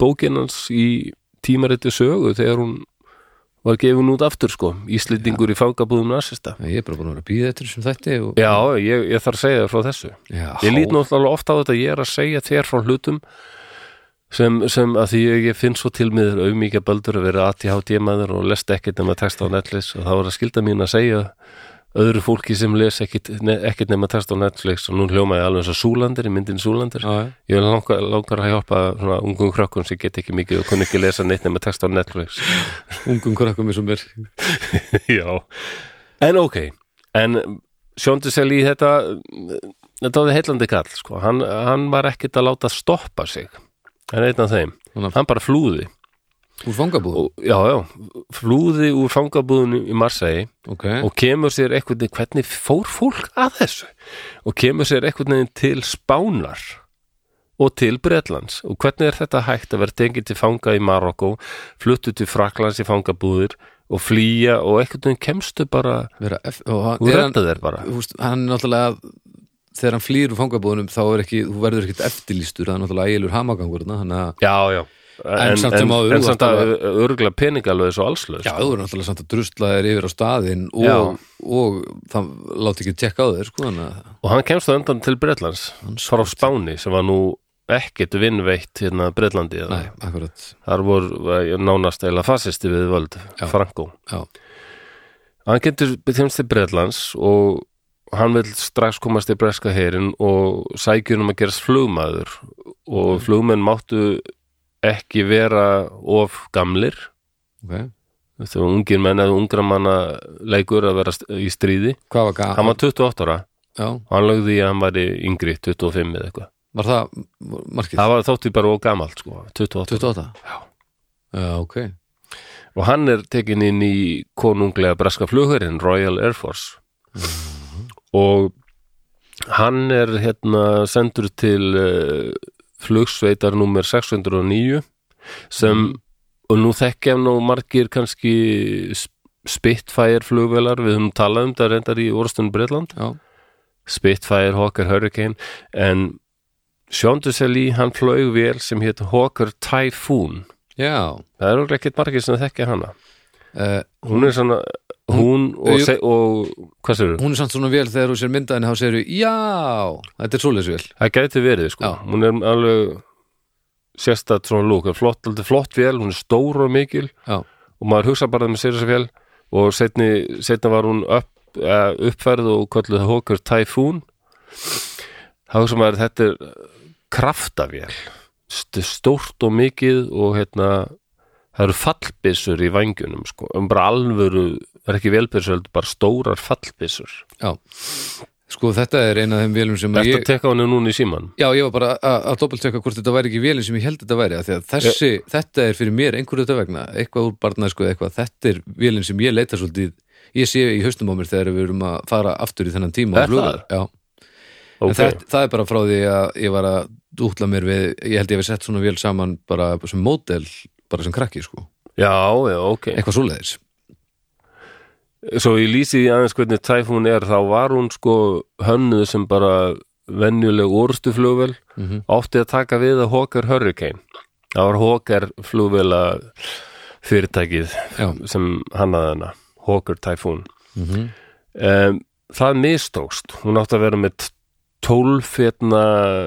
bókinans í tímariti sögu þegar hún var gefin út aftur sko, Íslendingur í fangabúðum nasista. Ég er bara búin að vera að býða eftir þessum þætti og... Já, ég, ég þarf að segja þér frá þessu. já Ég lít náttúrulega ofta á þetta, ég er að segja þér frá hlutum sem, sem að því ég, ég finn svo til mér auðmíkja böldur að vera ATHD maður og lest ekkert nema texta á Netflix og þá er að skilda mín að segja öðru fólki sem les ekkert, ne, ekkert nema texta á Netflix og nú hljóma ég alveg eins og Súlandir í myndin Súlandir Já, já, Ég vil langar, langar að hjálpa svona ungum krökkum sem get ekki mikið og kunni ekki lesa neitt nema text á Netflix. ungum krakkum eins og mér Já. En ok, en Sjóndi Seli í þetta, þetta var heillandi kall, sko. Hann, hann var ekkit að láta stoppa sig. Hann er einn af þeim. Þannig Hann bara flúði. að úr fangabúð Og, já, já, flúði úr fangabúðinu í Marseille Ok, og kemur sér eitthvað, hvernig fór fólk að þessu? Og kemur sér eitthvað neginn til Spánar og til Bretlands og hvernig er þetta hægt að vera tengið til fanga í Marokko fluttu til Fraklands í fangabúðir og flýja og eitthvað neginn kemstu bara vera F og hann, og er hann, redda þér bara þú veist, hann er náttúrulega þegar hann flýr úr fangabúðunum þá er ekki, þú verður ekkit eftirlýstur það er náttúrulega ægilur hamagangur þarna, þannig að Já, já En, en samt sem áður, en þú samt ert að örgulega peningalöðis og allslaus Já, þú verður náttúrulega samt að drusla þér yfir á staðinn og, og það láti ekki tekka á þér sko, þannig að og hann kemst það undan til Bretlands frá Spáni sem var nú ekkit vinnveitt hérna Bretlandi eða. Nei, akkurat, þar voru eh, nánast eða fasisti við völd, Já. Franko já, hann getur beþjómsið Bretlands og hann vil strax komast í breska herin og sækjur um að gerast flugmaður og flugmenn máttu ekki vera of gamlir okay. þetta var ungir menn eða ungra manna leikur að vera st- í stríði Hvað var gaman? hann var 28 ára Já, og hann lögði í að hann væri yngri 25 eða eitthvað var það markið? það var þótti bara og gamalt sko 28 28? Já. Já, ok og hann er tekin inn í konunglega breska flugurinn Royal Air Force og hann er hérna sendur til uh, flugsveitar númer 609 sem og nú þekkja nú margir kannski sp- Spitfire flugvelar við höfum talað um það reyndar í Orstun Breitland Já, Spitfire, Hawker, Hurricane en Sean Dusseli hann flög vel sem hétt Hawker Typhoon já það eru ekkert margir sem þekkja hana uh, hún er svona hún og, Jú. se, og hvað sér Hún er samt svona vel þegar þú sér myndaðin þá segir þú, já, þetta er svoleiðis vel það gæti verið sko, Já. hún er alveg sérstætt svona lúk, er flott, aldrei flott vél hún er stór og mikil Já, og maður hugsa bara með sér þessa vél og setni, setna var hún upp, eh, uppfærð og kölluð hókur Typhoon þá hugsa maður þetta er kraftavél St- stórt og mikið og hérna það eru fallbyssur í vangjunum sko, um bara alvöru, það er ekki velbyssur heldur bara stórar fallbyssur já Sko, þetta er eina af þeim vélum sem að Þetta ég ég... teka hann núna í síman Já, ég var bara að- að doppeltekka hvort þetta væri ekki vélinn sem ég held þetta væri af því að þessi, þetta er fyrir mér einhverju þetta vegna, eitthvað úr barnæsku eða eitthvað þetta er vélinn sem ég leita svolítið ég sé í haustum á mér þegar við erum að fara aftur í þennan tíma Er á flugvél. Já, okay. en það, það er bara frá því að ég var að útla mér við, ég held ég við sett svona vél saman bara sem módel, bara sem krakki sko, Já, já, ok eitthvað svoleiðis Svo ég lýsi því aðeins hvernig Typhoon er þá var hún sko hönnuð sem bara venjuleg orustuflugvel Mhm. átti að taka við að Hawker Hurricane það var Hawker flugvela fyrirtækið Já, sem hannaði hana Hawker Typhoon mm um, Það mistókst, hún átti að vera með 12 fetna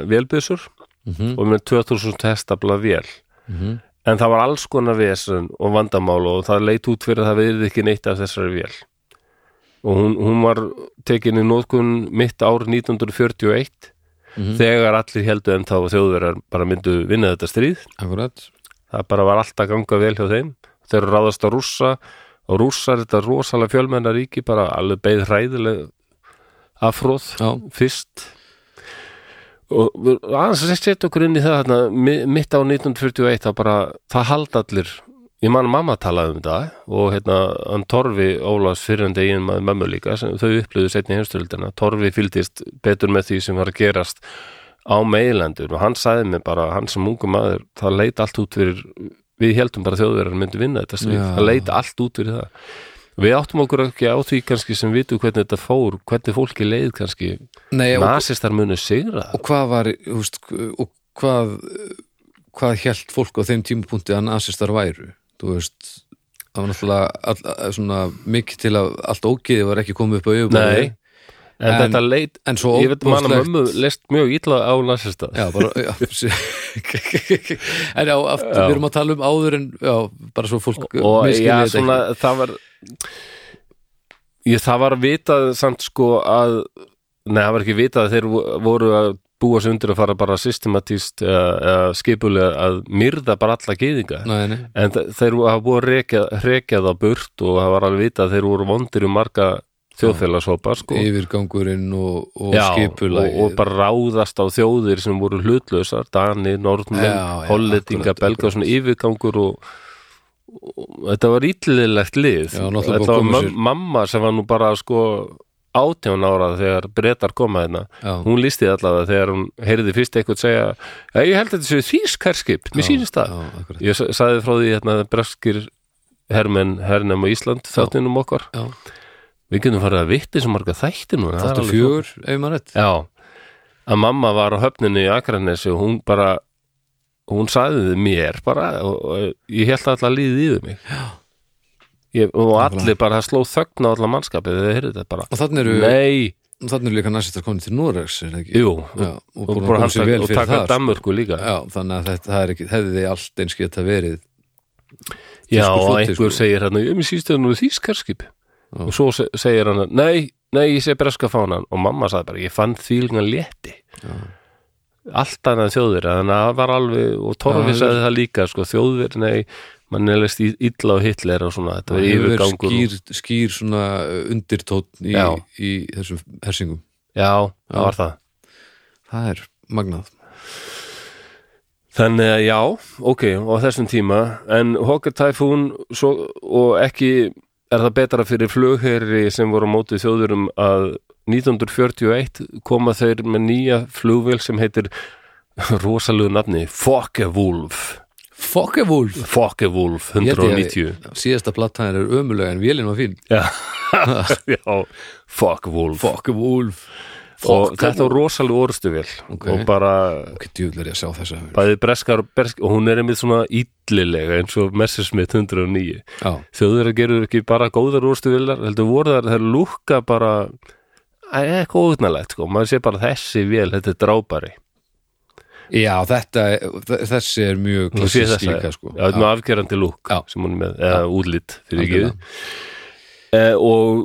vélbyssur og með 2000 hestafla vél en það var alls konar vesen og vandamál og það leit út fyrir að það verið ekki neitt af þessari vél og hún, hún var tekin í nótkun mitt ár 1941 Mhm. þegar allir heldur en þá þjóðverjar bara myndu vinna þetta stríð akkurat það bara var allt að ganga vel hjá þeim þeir eru ráðast að rússa og rússar þetta rosalega fjölmennar ríki bara alveg beið hræðileg afróð Já, fyrst og við- aðeins að setja okkur inn í það þarna, mi- mitt á 1941 það bara, það halda allir ég man að mamma talaði um þetta og hérna, hann Torfi Ólafs fyrrandi eigin maður mömmu líka, sem þau upplöðu setni heimstöldina, Torfi fylgdist betur með því sem var að gerast á meilendur og hann sagði mér bara hann sem ungu maður, það leit allt út fyrir við heldum bara að þjóðverðar myndi vinna þetta stríð, Já. það leit allt út fyrir það við áttum okkur ekki á því kannski sem vitum hvernig þetta fór, hvernig fólki leið kannski nei, og, Nasistar munu sigra og hvað var þú veist, og hvað hvað held fólk á þeim tímapunkti að nasistar væru þú veist það var náttúrulega all, að- svona mikið til að allt ógeði var ekki komið upp á Nei, yfirborði en, En- þetta leit en svo Ég veit manna óbúðslegt mömmu leist mjög illa á nasista Já, bara, já, sí- en já, aftur, Já. við erum að tala um áður en, já, bara svo fólk og misskilji já, þetta svona, ekki. það var ég, það var vitað samt sko að nei, það var ekki vitað að þeir vo- voru að búa sig undir að fara bara systematíst uh, skipulega að myrða bara alla gýðinga Nei, nei, en þe- þeir hafa búið að rekja, rekja það burt og það var alveg vitað að þeir voru vondir um marga þjóðfélagshópa sko. yfirgangurinn og, og Já, skipulagið og, og bara ráðast á þjóðir sem voru hlutlausar Dani, Já, Norðmenn, já, Hollendinga, akkurat, Belga og svona yfirgangur og, og þetta var ítlilegt lið Já, þetta náttúrulega var komu sér- mam- mamma sem var nú bara sko átján ára þegar bretar koma hérna Já. hún lísti allavega þegar hún heyrði fyrst eitthvað segja "Ja, ég held að þetta séu þýskarskip, mér sýnist það Já, akkurat ég sa- sagði frá því hérna að breskir hermenn hernum á Ísland þáttinum okkar Já. við getum farið að vitti sem marga þætti núna það er Þáttu alveg fjögur, ef maður rétt Já, að mamma var á höfninu í Akranesi og hún bara hún sagði þið mér bara og, og ég held að alltaf líði yfir mig ég, og allir bara það sló þögn á allar mannskapið þegar þið heyrðu þetta bara Og þannig eru Nei, Og þannig er líka næstistar komin til Noregs er það ekki? jú Já, og búin að bara koma sér handtaka- vel og fyrir taka það sko. Danmörku líka Já, þannig að þetta það er ekki, hefði þið allt eins geta verið Já, þýskur og floti, einhver sko. segir hérna, ég mér síst að nú er þýskarskip og svo se- segir hann, nei, nei, ég sé breska fánan og mamma sagði bara, ég fann þvílingan létti allt annað en þjóðir þannig að það var alveg, og Torfi Já, sagði það líka sko, þjóðir, nei, mann er leist í- illa og hitler og svona, þetta var yfirgangur og- skýr, skýr svona uh, undirtótt í, Já. í þessum hersingum já, það var það það er magnað Þannig að já, ok, á þessum tíma en Hawker Typhoon svo, og ekki er það betra fyrir flugherri sem voru á móti þjóðurum að 1941 koma þeir með nýja flugvél sem heitir rosalegu nafni Focke-Wulf Fokkevúlf Focke-Wulf 190 síðasta plattaðin er ömulega en vélinn var fín Já, já Focke-Wulf Fokkevúlf og þetta var rosalegu orustuvél Ok. og bara ok, djúðlar ég að sjá þessa bæði breskar, breskar og hún er einmitt svona illilega eins og Messerschmitt 109 já, þjóður gerur ekki bara góðar úrstuvilar heldur voru þar, þær lúkka bara það er eitthvað óugnalegt sko maður sé bara þessi vél, þetta er drábari já þetta, þ- þessi er mjög þú sé klassisk þessa, líka sko já, þetta er með afgerandi lúk Já. sem hún er með, eða útlit fyrir ekki Algjörlega. e, og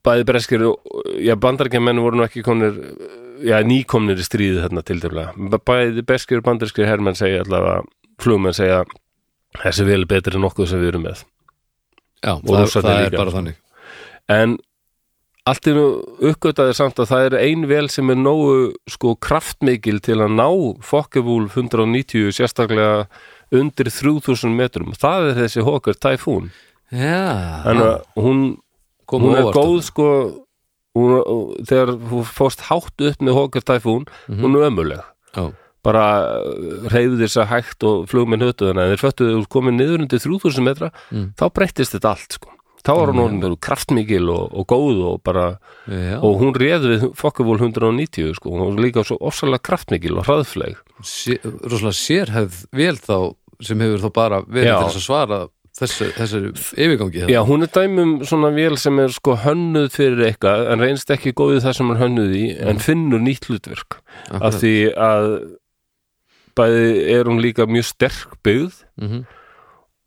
bæði breskir og- já, bandarækjamenn voru nú ekki komnir já, nýkomnir í stríði þarna til dæmlega bæði breskir og bandarækjir herrmenn segja allavega, flugmenn segja þessi vél er betri en nokkuð sem við erum með já, og það, Rússarnir það er líka. bara þannig en allt í nú uppgötaði samt að það er ein vel sem er nógu sko kraftmikil til að ná Fokkevúl 190 sérstaklega undir 3000 metrum það er þessi Hawker Typhoon en að já, hún, kom hún er óvart góð þarna. sko hún, þegar hún fórst hátt upp með Hawker Typhoon hún er ömuleg Mhm. já, bara uh, hreyfðu þess að hægt og flugminn hötu þannig að þeir föttuðu þú komið niður undir 3000 metra Mm. þá breyttist þetta allt sko þá var hún orðin kraftmikil og, og góð og bara, já, og hún réð við fokkavól 190 sko, hún var líka svo ofsalega kraftmikil og hraðfleg sé, rosalega sérhæfð vel þá sem hefur þá bara verið Já. til þess að svara þessu, þessu yfirgangi hérna. þarna. Já, hún er dæmum svona vél sem er sko hönnuð fyrir eitthvað en reynst ekki góðið það sem hann hönnuð í en finnur nýtt hlutverk Mm. Akkurat. af því að bæði er hún líka mjög sterk byggð Mhm.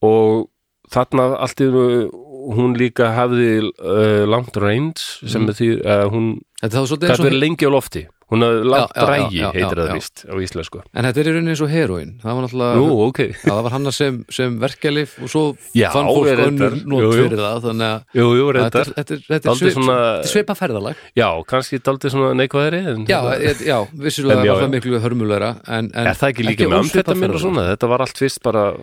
og þarna allt í einu hún líka hafði uh, langt range sem er því að hún Þetta er þá svolítið Mm. eins gat og verið lengi á lofti hún hafði langt Já, já, já, drægi já, já, heitir það já. víst á íslensku En þetta er í rauninni eins og heroin Það var náttúrulega Nú, ok, Já, það var hanna sem, sem verkelif og svo Já, fann fólk er önnur þetta- nót jú, jú. fyrir það þannig að jú, jú, þetta reyndar er, þetta er, þetta er, Dálítið svip, svona- þetta er svipa ferðalag Já, kannski daldið svona neikvæðari en Já, þetta- ég, já vissulega En já, var já. það miklu hörmulegra en, en Er það ekki líka með ósvipað amfetamin og ferðalag. svona? Þetta var allt fyrst bara,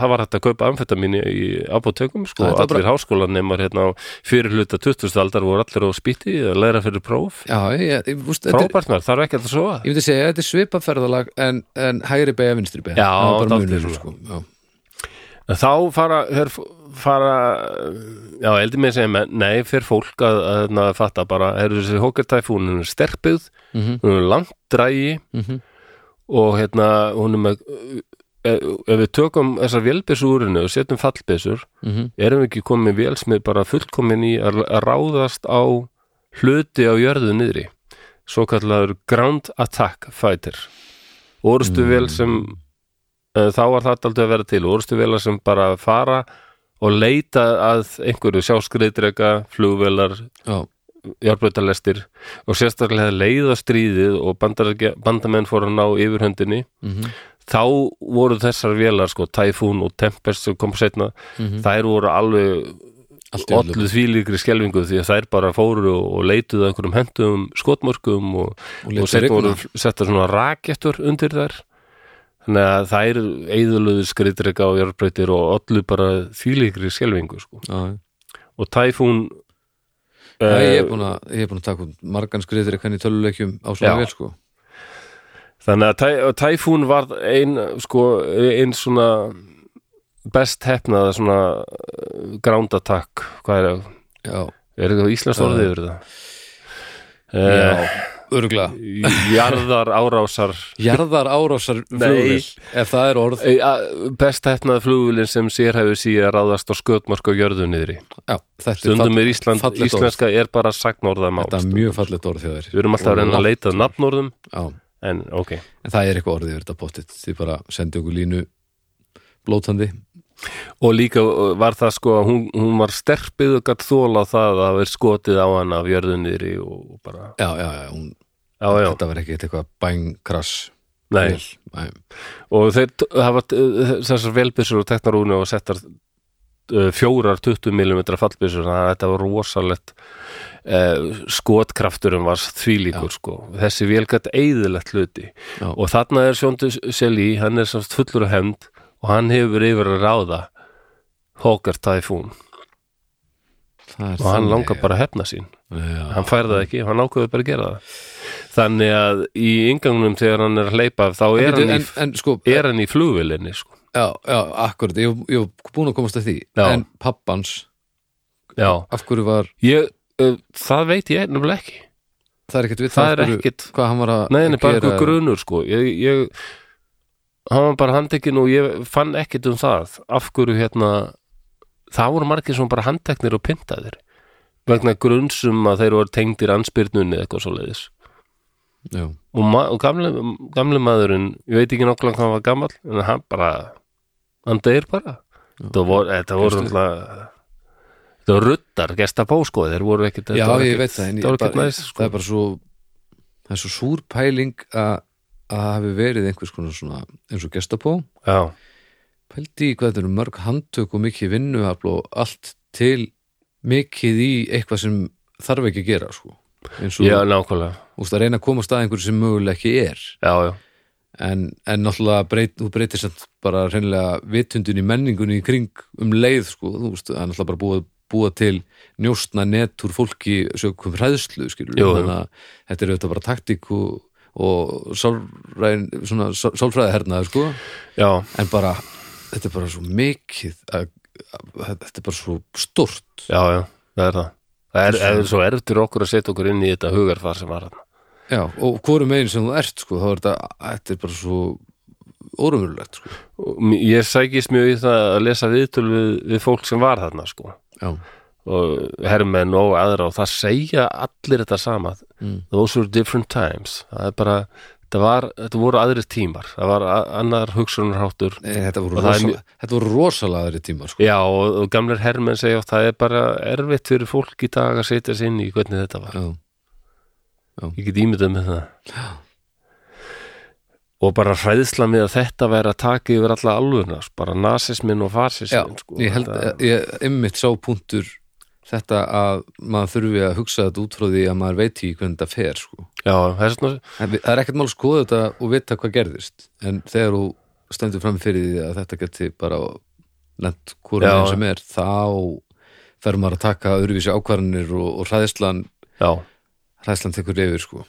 það var hægt að kaupa amfetamin í apotekum, sko, Já, þetta var allir háskólanemar hérna á fyrir hluta 20. aldar voru allir á spýti að læra fyrir próf. Já, ég, ég, vúst, þetta er, Frábært maður, þarf ekki að það sofa. ég myndi segja, þetta er svipa ferðalag en, en hægri beigja, vinstri beigja Já, það var bara dálítið munur, svona. sko. já. En Þá fara, her, fara já, eldi mig að segja menn, nei, fyrir fólk að, að, að fatta bara, er þessi hókertæfún, hún er sterkbyggð, Mhm. hún er langt drægi Mhm. og hérna, hún er með ef ef við tökum þessar vélbyssurinu og setjum fallbyssur, Mhm. erum við ekki komin vél sem er bara fullkomin í að, að ráðast á hluti á jörðu niðri, svo kallaður ground attack fighter orustu Mm. vel sem Eh, þá var það aldrei að vera til orustuvela sem bara fara og leita að einhverju sjáskriðdrega, flugvelar Já, járbrautalestir og sérstaklega leiða stríðið og bandarækja- bandamenn fóru að ná yfirhöndinni mhm, þá voru þessar vélar sko, Typhoon og Tempest sem kom setna mhm. þær voru alveg Allt í öllu. ollu þvílíkri skelfingu því að þær bara fóru og, og leituðu að einhverjum hendum skotmörkum og, Og og, létu og settu rigna. voru settu svona rakettur undir þær þannig að þær eigðulöðu skriðdrega og járbreytir og ollu bara þvílíkri skelfingu sko. Já, já. og Typhoon Já, ég er uh, búin að, ég er búin að taka út margan skriðir eitthvað í töluleikjum á svona Já. vel sko þannig að Ty- og Typhoon var ein sko, ein svona best hefnaða svona eh, ground attack hvað er það? Já, Er eitthvað íslenskt orðið yfir Uh, það? Uh, Eh, já, örgla jarðar árásar Jarðar árásar Nei. flugvél ef það er orð Ei, a- best hefnað flugvillin sem sér hefur síðan ráðast á skötmark á jörðu niðri Já, þetta er, stundum fall, er Ísland, fallegt orð. íslenska er bara sagnorðamál, þetta er mjög fallegt orð þegar við erum alltaf að reyna að leita að nafnorðum, Já, en ok en það er eitthvað orðið yfir þetta pottit því bara sendi okkur línu blótandi og líka uh, var það sko að hún, hún var sterpið og gatt þóla það að það verið skotið á hann af jörðunniðri og bara já, já, já, hún, já, já, þetta var ekki eitthvað bængkrass nei og þeir t- hafa t- uh, þessar velbyssur og teknarúni og settar uh, fjórar 20 mm fallbyssur þannig að þetta var rosalegt uh, skotkrafturum var þvílíkur sko, þessi vél gætt eðilegt hluti Já. og þarna er Sjóndu Selí, hann er samt fullur af hemd og hann hefur yfir að ráða Hawker Typhoon og hann langar bara að hefna sín já, hann fær það ekki, hann ákveður bara að gera það þannig að í ingangunum þegar hann er að hleypa af, þá er en, hann í, en, en sko, er hann í flugvilinni sko. já, já, akkurat ég, ég var búin að komast að því Já. en pappans, já, af hverju var ég, uh, það veit ég nefnilega ekki það er ekkert við það af er hverju- ekkit, hvað hann var að nei, nei, bara gera- einhver grunur sko, ég, ég hann var bara handtekinn og ég fann ekkit um það, af hverju hérna það voru margir sem bara handteknir og pyntaðir vegna grunnsum að þeir voru tengdir anspyrnunni eða eitthvað svo leiðis já, og, ma og gamli, gamli maðurinn ég veit ekki nokkulega hvað hann var gamall en hann bara, hann deyr bara þetta voru, þetta voru Kannski. alltaf þetta voru ruddar gestapó sko, þeir voru ekkit já þetta var ég ekkit- veit það en ég þetta voru ekkit bara- næst það sko. er bara svo það er svo súr pæling að að það hafi verið einhvers konar svona eins og gestapó já, pældi í hvað þetta eru mörg handtök og mikið vinnuafl og allt til mikið í eitthvað sem þarf ekki að gera sko. eins og já, nákvæmlega úst, að reyna að koma á stað einhverju sem mögulega ekki er já, já, en, en náttúrulega breyt, þú breytir samt bara reynilega vitundin í menningunni í kring um leið sko, þú veist, það er náttúrulega bara búið búa til njóstna net úr fólki sögum hræðslu skilur Jú, jú. þannig að þetta er auðvitað bara taktík og, og sálræn, svona, sál, sálfræðahernaður sko já, en bara, þetta er bara svo mikið að, að, þetta er bara svo stort já, já, það er það það er, er svo erftur okkur að setja okkur inn í þetta hugarfar sem var hann já, og hvorum megin sem þú ert sko, þá er þetta, þetta er bara svo órumurlegt sko. ég sækist mjög í það að lesa viðtöl við, við fólk sem var þarna sko já, og hermenn og aðra og það segja allir þetta sama Mm. those were different times það er bara, þetta, var, þetta voru aðrir tímar það var a- annar hugsunarháttur Nei, Eh, þetta voru, Og það er rosa, þetta voru rosalagri tímar sko. já og, og gamlir hermenn segja oft, það er bara erfitt fyrir fólk í dag að setja sig inn í hvernig þetta var já, ég get ímyndað með það og bara hræðsla með að þetta væri að taka yfir alla alvörna bara nasismin og já fasismin sko, ég held þetta, ég, einmitt sá punktur þetta að maður þurfi að hugsa þetta út frá því að maður veit í hvernig þetta fer sko. já, þess vegna En við- það er ekkert mál að skoða þetta og vita hvað gerðist en þegar þú stendur fram fyrir því að þetta geti bara lent hvora Já. meginn sem er þá fer maður að taka öðruvísi ákvarðanir og, og hræðslan, já hræðslan tekur yfir sko.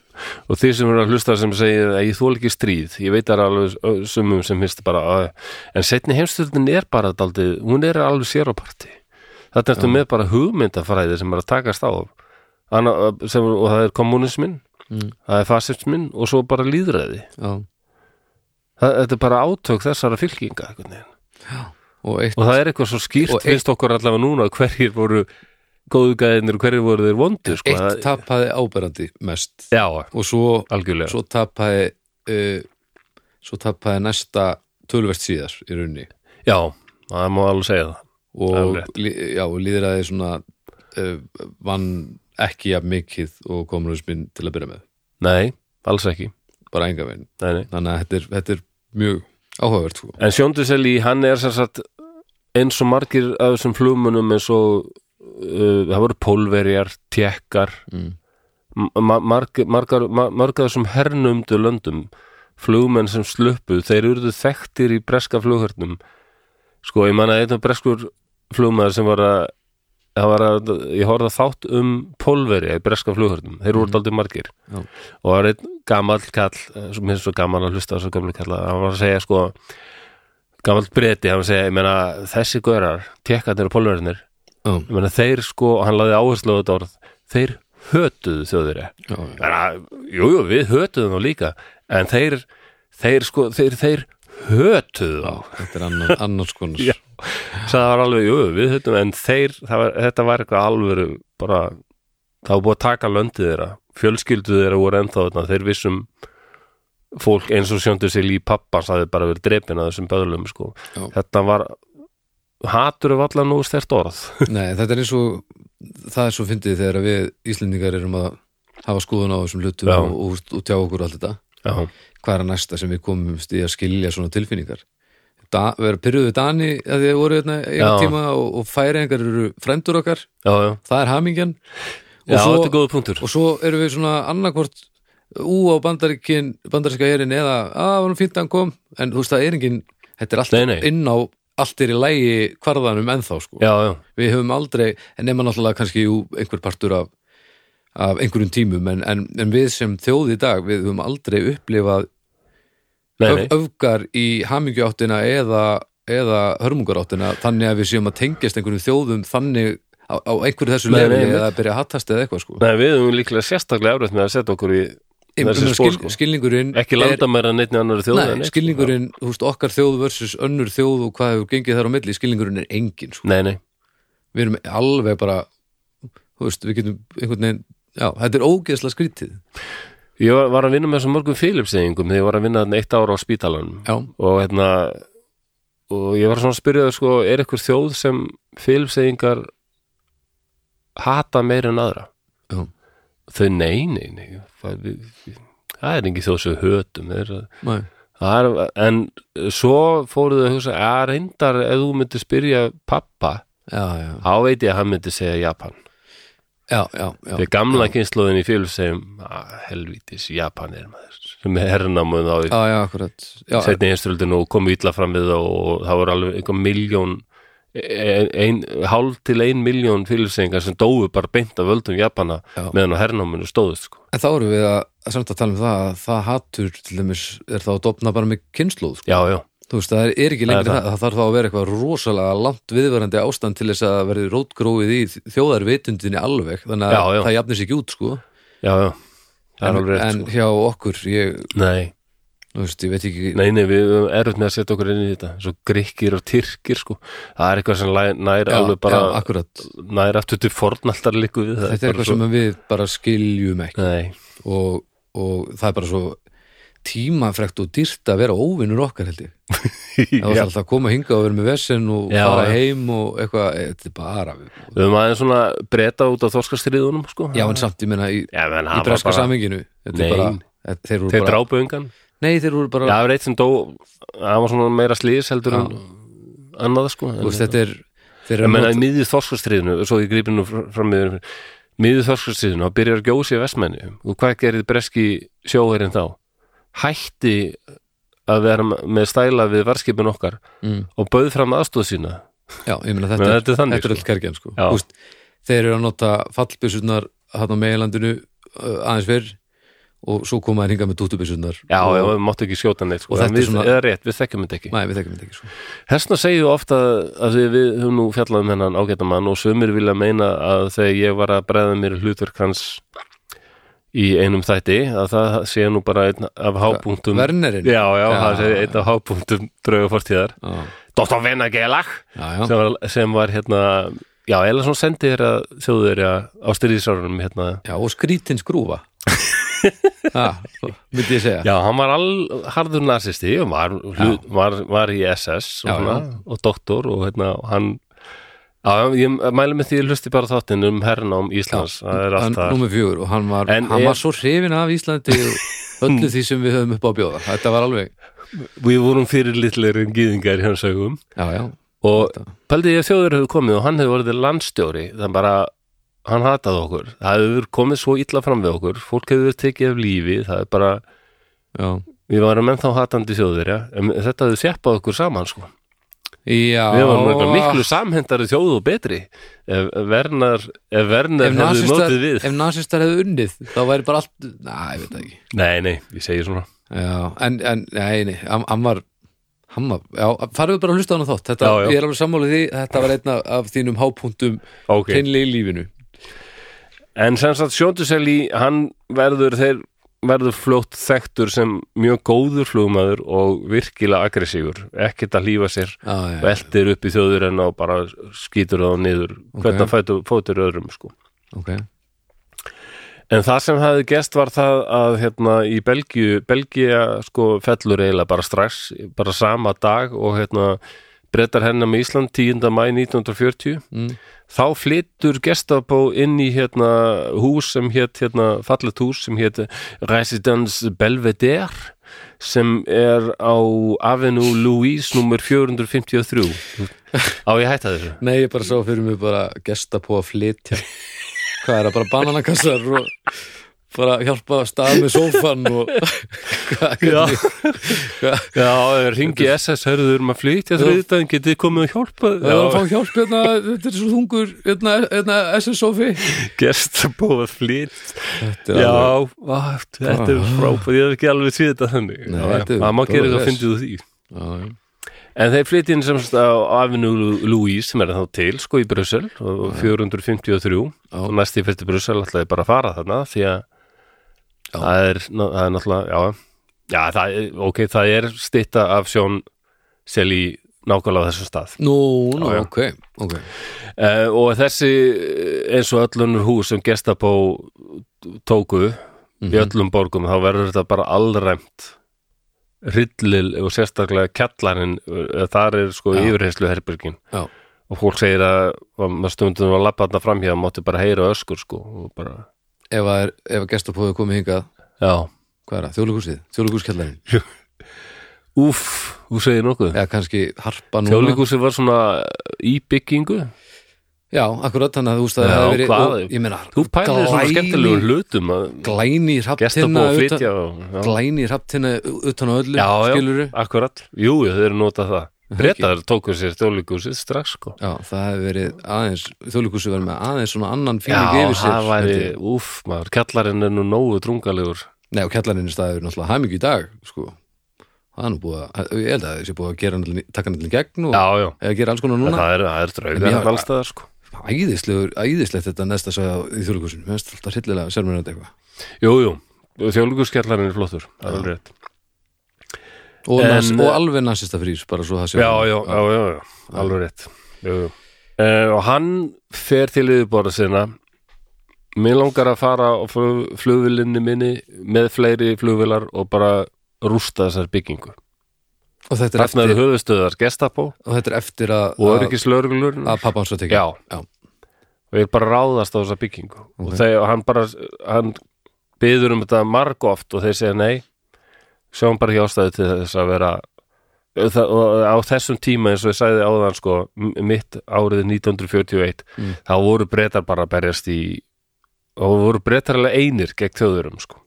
og þið sem eru að hlusta sem segir að ég þól ekki stríð ég veit það er alveg ö, sumum sem finnst bara að, en setni heimstöldin er bara daldið, hún er alveg sér á parti þetta ertu með bara hugmyndafræði sem er að takast á Anna, sem, og það er kommunismin Mm. það er fasismin og svo bara líðræði Já. það, þetta er bara átök þessara fylkinga einhvern veginn. og eitt og það er eitthvað svo skýrt Og eitt- finnst okkur allavega núna hverjir voru góðu gæðinir og hverjir voru þeir vondu sko. það, eitt tapaði áberandi mest já, og svo, algjörlega svo tapaði uh, svo tapaði næsta tölvert síðar í raunni já, það má alveg segja það og, Alveg rétt. lí- já, og líðraði svona uh, vann ekki jafn mikið og komur hans minn til að byrja með nei, alls ekki bara enga veginn nei, nei. þannig að þetta er, þetta er mjög áhugavert sko. En Sjónduseli, hann er sem sagt eins og margir af þessum flugmunum eins og uh, það voru pólverjar, tjekkar Mm. ma marg, margar, ma margar af þessum hernumdu löndum flugmenn sem sluppu, þeir urðu þekktir í breska flughörnum sko, ég manna einn af breskur flugmaður sem var að, það var að ég horfði að þátt um pólverja í breska flughörnum, þeir voru mm. daldið margir Já. og það var einn gamall kall eh, sem er svo gaman að hlusta á þessu gamlu kalla hann var að segja sko gamall breti, hann var að segja, ég meina þessi görar, tekkarnir og pólverjarnir Já. ég meina þeir sko, og hann laði áherslu á þetta orð, þeir hötuðu þjóðurja já, já, Þannig að, jú, jú, við hötuðum þá líka en þeir, þeir sko þeir, þeir hötuðu þá þetta er annan, annars konar Já. Svo það var alveg, jú, jú, við hötuðum en þeir, það var, þetta var eitthvað alvöru bara, það var búið að taka löndið þeirra fjölskyldu þeirra voru ennþá þarna, þeir vissum fólk eins og sjóndu sig líf pappans hafði bara verið drepin að þessum böðlum sko. Já. þetta var hatur er allan nú stert orð Nei, þetta er eins og það er svo fyndið þegar að við Íslendingar erum að hafa skoðun á þessum hlutum Já. og, og, og tjá okkur allt þetta Já, hvað er að næsta sem við komumst í að skilja svona tilfinningar da, vera pyrruðu Dani að því að voru hérna Já. einu tíma og, og færingar eru fremdur okkar, já, já, það er hamingjan og, já þetta er svo, góða punktur og svo erum við svona annarkvort ú á bandaríkin bandaríska erin eða að var nú fínt að hann kom en þú veist það er engin, þetta er allt Nei, nei. inn á allt er í lægi kvarðanum ennþá sko Já, já, við höfum aldrei, en nema náttúrulega kannski jú, einhver partur af, af einhverjum tímum, en, en, en við sem þjóð í dag, við höfum aldrei upplifað nei, öf, nei öfgar í hamingjuáttina eða, eða hörmungaráttina, þannig að við séum að tengjast einhverjum þjóðum þannig á, á einhverju þessu Nei, lefni nei, eða að byrja að hattast eða eitthvað sko. Nei, við höfum líklega sérstaklega efrætt með að setja okkur í Ég þessi meina, spór, skil, sko. skilningurinn ekki er- landa sko. meira neittni annar þjóð Nei, skilningurinn, þú veist, okkar þjóð versus önnur þjóð og hvað hefur gengið þar á milli, skilningurinn er engin, sko. Nei, nei, við erum alveg bara þú veist, við getum einhvern veginn já, þetta er ógeðslega skrítið ég var- var að vinna með svo mörgum Philips-eigingum þegar ég var að vinna þarna eitt ára á spítalanum já, og hérna og ég var svona að spyrja það sko er eitthvað þjóð sem filmsegingar hata meira en aðra Já. þau nei, nei, nei það, við, við, það er engin þjóð sem við hötum þeir, næ, það er, en svo fóruðu þau að hugsa að reyndar ef þú myndir spyrja pappa já, já þá veit ég að hann myndi segja Japan já, já, já, þegar gamla kynnslóðin í filmsegum helvítis Japan er maður sem er hernamun á í já, já, akkurat já, setni heimstöldinu og komu ítla fram við það og það voru alveg einhver miljón ein, ein, hálf til ein miljón fylgsengar sem dóu bara beint af völdum Japana Já. meðan á hernáminu stóðust sko. en þá erum við að, að samt að tala um það að það hattur til dæmis er þá að dofna bara með kynnslóð sko. já, já, þú veist, það er ekki Það er lengur það. það. það þarf þá að vera eitthvað rosalega langt viðverandi ástand til þess að verði rótgróið í þjóðarvitundinni alveg þannig að Já, já. það jafnir sig ekki út, sko já, já það er en, alveg en rétt sko. hjá okkur, ég, nei, þú veist, ég veit ekki nei, nei, við erum með að setja okkur inn í þetta svo grikkir og tyrkir sko. það er eitthvað sem læ- nær já, alveg bara já, akkurat nær aftur til fornaldar líku við það þetta er bara eitthvað sem við bara skiljum ekki nei, og, og það er bara svo tímafrekt og dýrt að vera óvinnur okkar held ég það var já, alltaf að koma hingað og vera með vesinn og Já, fara já. heim og eitthvað, Eh, þetta er bara við höfum aðeins svona breyta út af þorskastriðunum sko. já en samt, ég meina í, Já, menn, í hann var breska bara- saminginu þetta Nei. er bara, þetta- þeir voru þeir bara drápu ungan nei, þeir voru Já, bara, það var eitt sem dó það var svona meira slýs heldur en annað sko þú veist, en, þetta er þeir en eru menna, að nota- miðið þorskastriðinu svo ég grípi nú fr- fram með miðið þorskastriðinu, þá byrjar að gjósi í vestmenni og hvað gerir breski sjóherinn þá? Hætti að vera með stæla við varskipin okkar mm, og bauð fram aðstóð sína já, ég meina Menn, þetta er þetta er þannig, þetta er sko. öll kergjan sko Já. Þú veist, þeir eru að nota fallbyssurnar hann á meginlandinu uh, aðeins fyrr og svo koma þeir hingað með dúttubyssurnar Já, og, já, við máttu ekki skjóta neitt sko. Og þetta En er við, svona- eða rétt, við þekkjum þetta ekki Nei, við þekkjum þetta ekki sko Hestna segjum við ofta að því við höfum nú fjallað um hennan ágæta mann og sömur vilja meina að þegar ég var að bregða mér hlutverk hans í einum þætti að það sé nú bara einn af hápunktum Vernerinn Um- Já, já, Já. það sé einn af hápunktum draugafortíðar já, Dóttar Venagelag já, já. sem var, sem var hérna Já, eða svona sendi þér að þjóðu þér á styrðisárunum hérna já og skrítins grúfa ha, myndi ég segja Já, hann var all harður narsisti og var, hlut, var, var í SS og, Já, svona, og doktor og hérna, og hann Já, ég mæli með því að hlusti bara þáttinn um hernám Íslands, það er hann, alltaf Númer fjögur og hann var, En hann er- var svo hrifin af Íslandi og öllu því sem við höfum upp á að bjóða Þetta var alveg Við vorum fyrir litlir en gýðingar hjá sögum Já, já, og pældi ég að þjóður hefur komið og hann hefur orðið landstjóri, þannig bara hann hataði okkur, það hefur komið svo illa fram við okkur, fólk hefur tekið af lífi, það er bara, já. við varum ennþá hatandi þjóður, já, en þetta hefur þjappað okkur saman, sko já Við varum eitthvað miklu samhendari þjóð og betri ef vernar, ef vernar Ef hefðu nasistar, notið við ef nasistar hefðu unnið þá væri bara allt, næ, ég veit það ekki Nei, nei, ég segi svona Já, en, en, nei, nei, hann, hann var hann var, já, farðu bara að hlusta á hann þátt þetta, Já, já. ég er alveg sammálið því, þetta var einn af- af þínum hápunktum Ok. hreinlega í lífinu En sem sagt Sjónduseli, hann verður þeir verður fljótt þekktur sem mjög góður flugmaður og virkilega aggressífur, ekkert að lífa sér Já, já, veltir upp í þjóður en á bara skýtur það á niður hvernig hann fætur, fótur öðrum sko. ok En það sem hafði gest var það að hérna í Belgíu, Belgía sko fellur eiginlega bara strax, bara sama dag og hérna brettar hennar með Ísland 10. mæ 1940 Mm. þá flyttur Gestapo inn í hérna hús sem hétt hérna, fallet hús sem hétt Residence Belvedere sem er á Avenue Louise nummer 453 á ég að hætta þessu Nei, ég bara sá fyrir mig bara gesta på að flytja Hvað er það, bara bananakassar og bara hjálpa að stað með sófan og hvað Já. hvernig- hvað- Já, ringi SS, herðu, við erum að flytja þriðdæðin, getið þið komið að hjálpa Það er að fá hjálp hérna, þetta er svo þungur hérna, hérna SS-sofi Gestapo að flytja Já, á, þetta er Ah. frábært, ég hef ekki alveg séð þetta þannig Nei, Já, þetta er já, maður gerir bara það að res. fyndið úr því já, En þeir flytti inn semst á Avenue Louise sem er þá til, sko, í Brussel og 453 Já. og næst í fyrst í Brussel ætlaði bara að fara þarna því að Já. það er, ná- það er náttúrulega, já Já, það er, ok, það er stytta af sjón sel í nákvæmlega á þessum stað Nú, nú, Já, já. ok, ok Uh, og þessi eh, eins og öllunur hús sem gestapó tóku Mhm. í öllum borgum þá verður þetta bara allræmt hryllil og sérstaklega kjallarinn, eh, þar er sko Já. yfirheyslu herbergin Já, og fólk segir að að maður stundum að lappa þarna framhjá og mátti bara heyra öskur sko og bara, ef að, er- ef að gestapóðu komið hingað já, Hvað er það, þjóðleikúsið, þjóðleikúskjallarinn úff, þú segir nokkuð Eða kannski harpa núna Þjóðlíkúsi var svona í byggingu Já, akkurat, þannig að þú veist að Já, það hefur verið hvað- og, Ég meina, Þú pælir svona glæný- skemmtilegum hlutum að Glæni gestabó hrafntinna að Hérna utan- flytja og, já. Glæni hrafntinna utan á öllu já, já, Skilurðu akkurat, jú, jú, þeir eru notað það breytaður tóku sér þjóðleikúsið strax sko Já, það hefur verið aðeins Þjóðleikúsið verið með aðeins svona annan fíling já, yfir sér það væri, held ég. úff, maður kallarinn er nú nógu drungalegur Nei, og kjallarinn í staðið er náttúrulega hæmingi í dag, sko. Það er nú búið að, ég held að þessi búið að gera hann, taka hann allir gegn og já, já, eða gera alls konar núna. það er, það er En ég- draugar allstaðar sko Æðislegur, æðislegt þetta næsta að segja í þjóðleikusinu. Mér finnst alltaf hryllilega sermur þetta eitthvað. jú, jú, þjóðleikúskallarinn er flottur það er alveg rétt Og, En- eh, nas, og alveg nasista frýs, bara svo það sé. já, já, já, já, já, alveg rétt jú, jú. Uh, og hann fer til yfirborða sinna mér langar að fara á flug, flugvilinni minni með fleiri flugvilar og bara rústa þessar byggingu Og þetta er Þarna eru eftir, höfustöðar Gestapo og þetta er eftir að, og að, öryggislörglur að pappa hans var tekið. Já. já. og ég bara ráðast á þessa byggingu og, þeir, og hann bara hann byður um þetta marg oft og þeir segja nei sjáum bara ekki ástæðu til þess að vera það, og á þessum tíma eins og ég sagði áðan sko m- mitt árið 1941 þá voru breytar bara að berjast í og voru breytar alveg einir gegn þjóðurum sko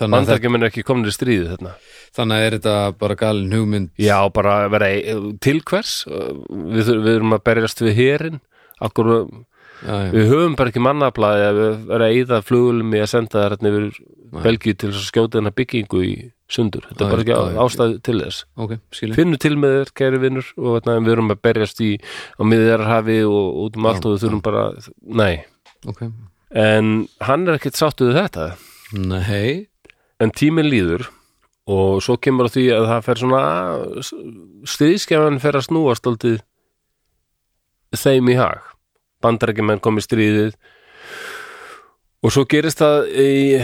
Þannig, að þetta, bandarkjum er ekki komin í stríði þarna þannig að er þetta bara galin hugmynd. já bara að vera ein- til hvers við, þur- við erum að berjast við herin akkur Já, já. Við höfum bara ekki mannaflaði að við erum að eyða flugulum í að senda þær hérna yfir Belgíu til þess að skjóta hennar byggingu í sundur. Þetta Nei, er bara ekki nei. á- ástæðu til þess. Ok, skilur. Finnum til með þér, kæri vinnur, og hérna, við erum að berjast í á miðjarhafi og út um allt og við þurfum bara, nei. Ok. En hann er ekkert sáttuð þetta. Nei. En tíminn líður og svo kemur á því að það fer svona stríðskefan fer að snúast aldrei þeim í hag bandarækjumenn kom í stríðið og svo gerist það í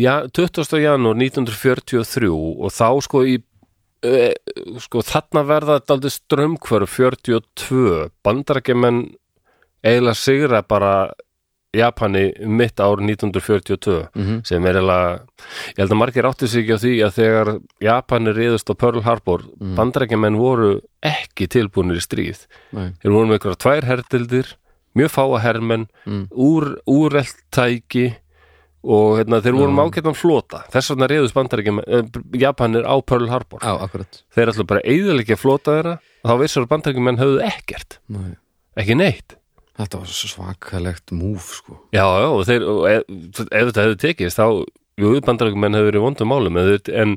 ja, 20. janúar 1943 og þá sko í e, sko þarna verða þetta aldrei strömmkvörf 42 bandarækjumenn eiginlega sigra bara Japani um mitt ár 1942 Mhm. sem er eiginlega ég held að margir átti sig ekki á því að þegar Japanir reyðust á Pearl Harbor mm. voru ekki tilbúinir í stríð Nei. þeir voru með einhverja tvær hertildir mjög fáa hermenn Mm. úr, úrelt tæki og hérna, þeir voru með ágættan flota þess vegna reyðust bandarækjumenn eh, Japanir á Pearl Harbor Á, akkurat. þeir ætlu bara eiðalegja flota þeirra og þá vissur bandarækjumenn höfðu ekkert Nei. ekki neitt Þetta var svakalegt múf sko. Já, já, og þeir, og ef, ef þetta hefði tekist þá, jú, bandarækjumenn hefur verið í vondum málum, en, þeir- en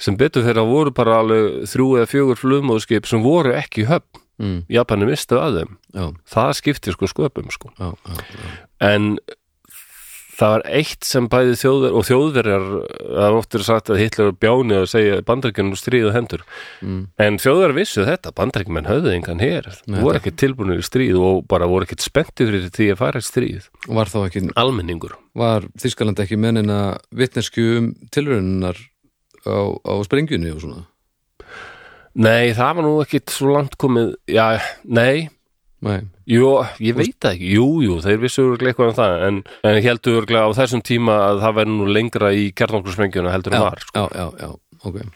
sem betur þeirra voru bara alveg þrjú eða fjögur flugmóðskip sem voru ekki í höfn Mm. Japani mistu að þeim, Já, það skipti sko sköpum sko, já, já, já. en það var eitt sem bæði þjóðver og þjóðverjar, það er oftur sagt að Hitler og Bjáni að segja bandarækjunum stríðu hendur, Mm. en þjóðverjar vissu þetta, bandarækjumenn höfðu engan hér, Nei. voru ekki tilbúinu í stríð og bara voru ekki spennti fyrir því að fara í stríð, Og Var þá ekki, almenningur var Þískaland ekki menina vitneskju um tilrauninnar á, á sprengjunni og svona Nei, það var nú ekkit svo langt komið Já, nei, Nei. jú, ég veit það ekki Jú, jú, þeir vissu örglega eitthvað um það En, en heldur örglega á þessum tíma að það væri nú lengra í kjarnorkursprengjuna heldur en Já, var sko. já, já, já, ok uh,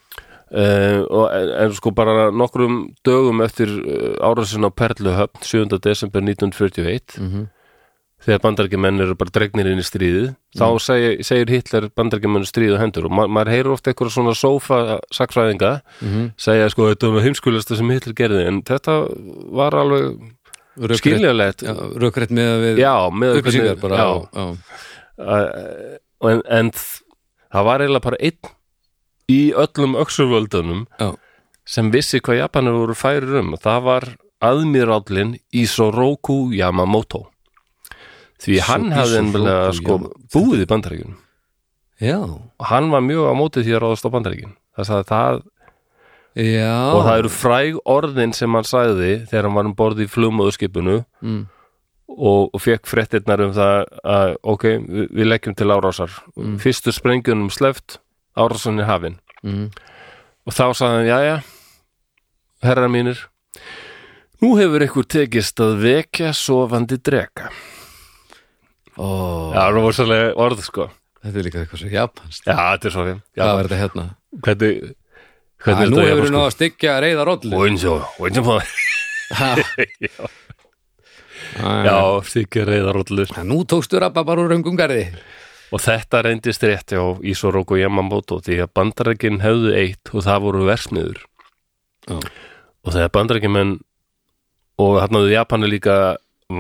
og, en, en sko bara nokkrum dögum eftir uh, árásin á Perluhöfn 7. desember 1941 Mhm. þegar bandarkimenn eru bara dregnir inn í stríðið þá Mhm. seg, segir Hitler bandarkimennu stríðu hendur og ma maður heyrir ofta eitthvað svona sófa sakfræðinga Mhm. segja sko þetta var heimskulasta sem Hitler gerði en þetta var alveg Rökrétt- skiljanlegt já, Rökrétt með að við Já, með upplýsingar bara já, já, já. að- Uh, en, en þ- það var eiginlega bara einn í öllum öxurvöldunum Já. sem vissi hvað Japanir voru færir um og það var aðmirállin Isoroku Yamamoto því Svo- hann hafði Isoroku ennbælega sko Yama- búið í bandaríkjunum já, og hann var mjög á móti því að ráðast á bandaríkjun það sagði það já og það eru fræg orðin sem hann sagði þegar hann var um borði í flugmóðuskipinu mm. og, og fekk fréttirnar um það að ok, við, við leggjum til árásar fyrstu sprengjunum sleft árásan er hafin Mm. og þá sagði hann, jæja herra mínir nú hefur ykkur tekist að vekja sofandi drega Ó, Já, það var svolítið orð sko þetta er líka eitthvað svo japanst Já, þetta er svo fyrir Já, Hvað var þetta hérna? hvernig, Æ, hvernig nú er hefur við þetta sko? ná að styggja reyða rollu Oinsjó, oinsjó Já, þykir reyðaróllu Nú tókstu rabba bara úr röngum garði Og þetta reyndist rétt hjá Ísoroku Yamamoto því að bandarækin höfðu eitt og það voru versmiður. Já. Og þegar bandarækjumenn og hann hafði Japani líka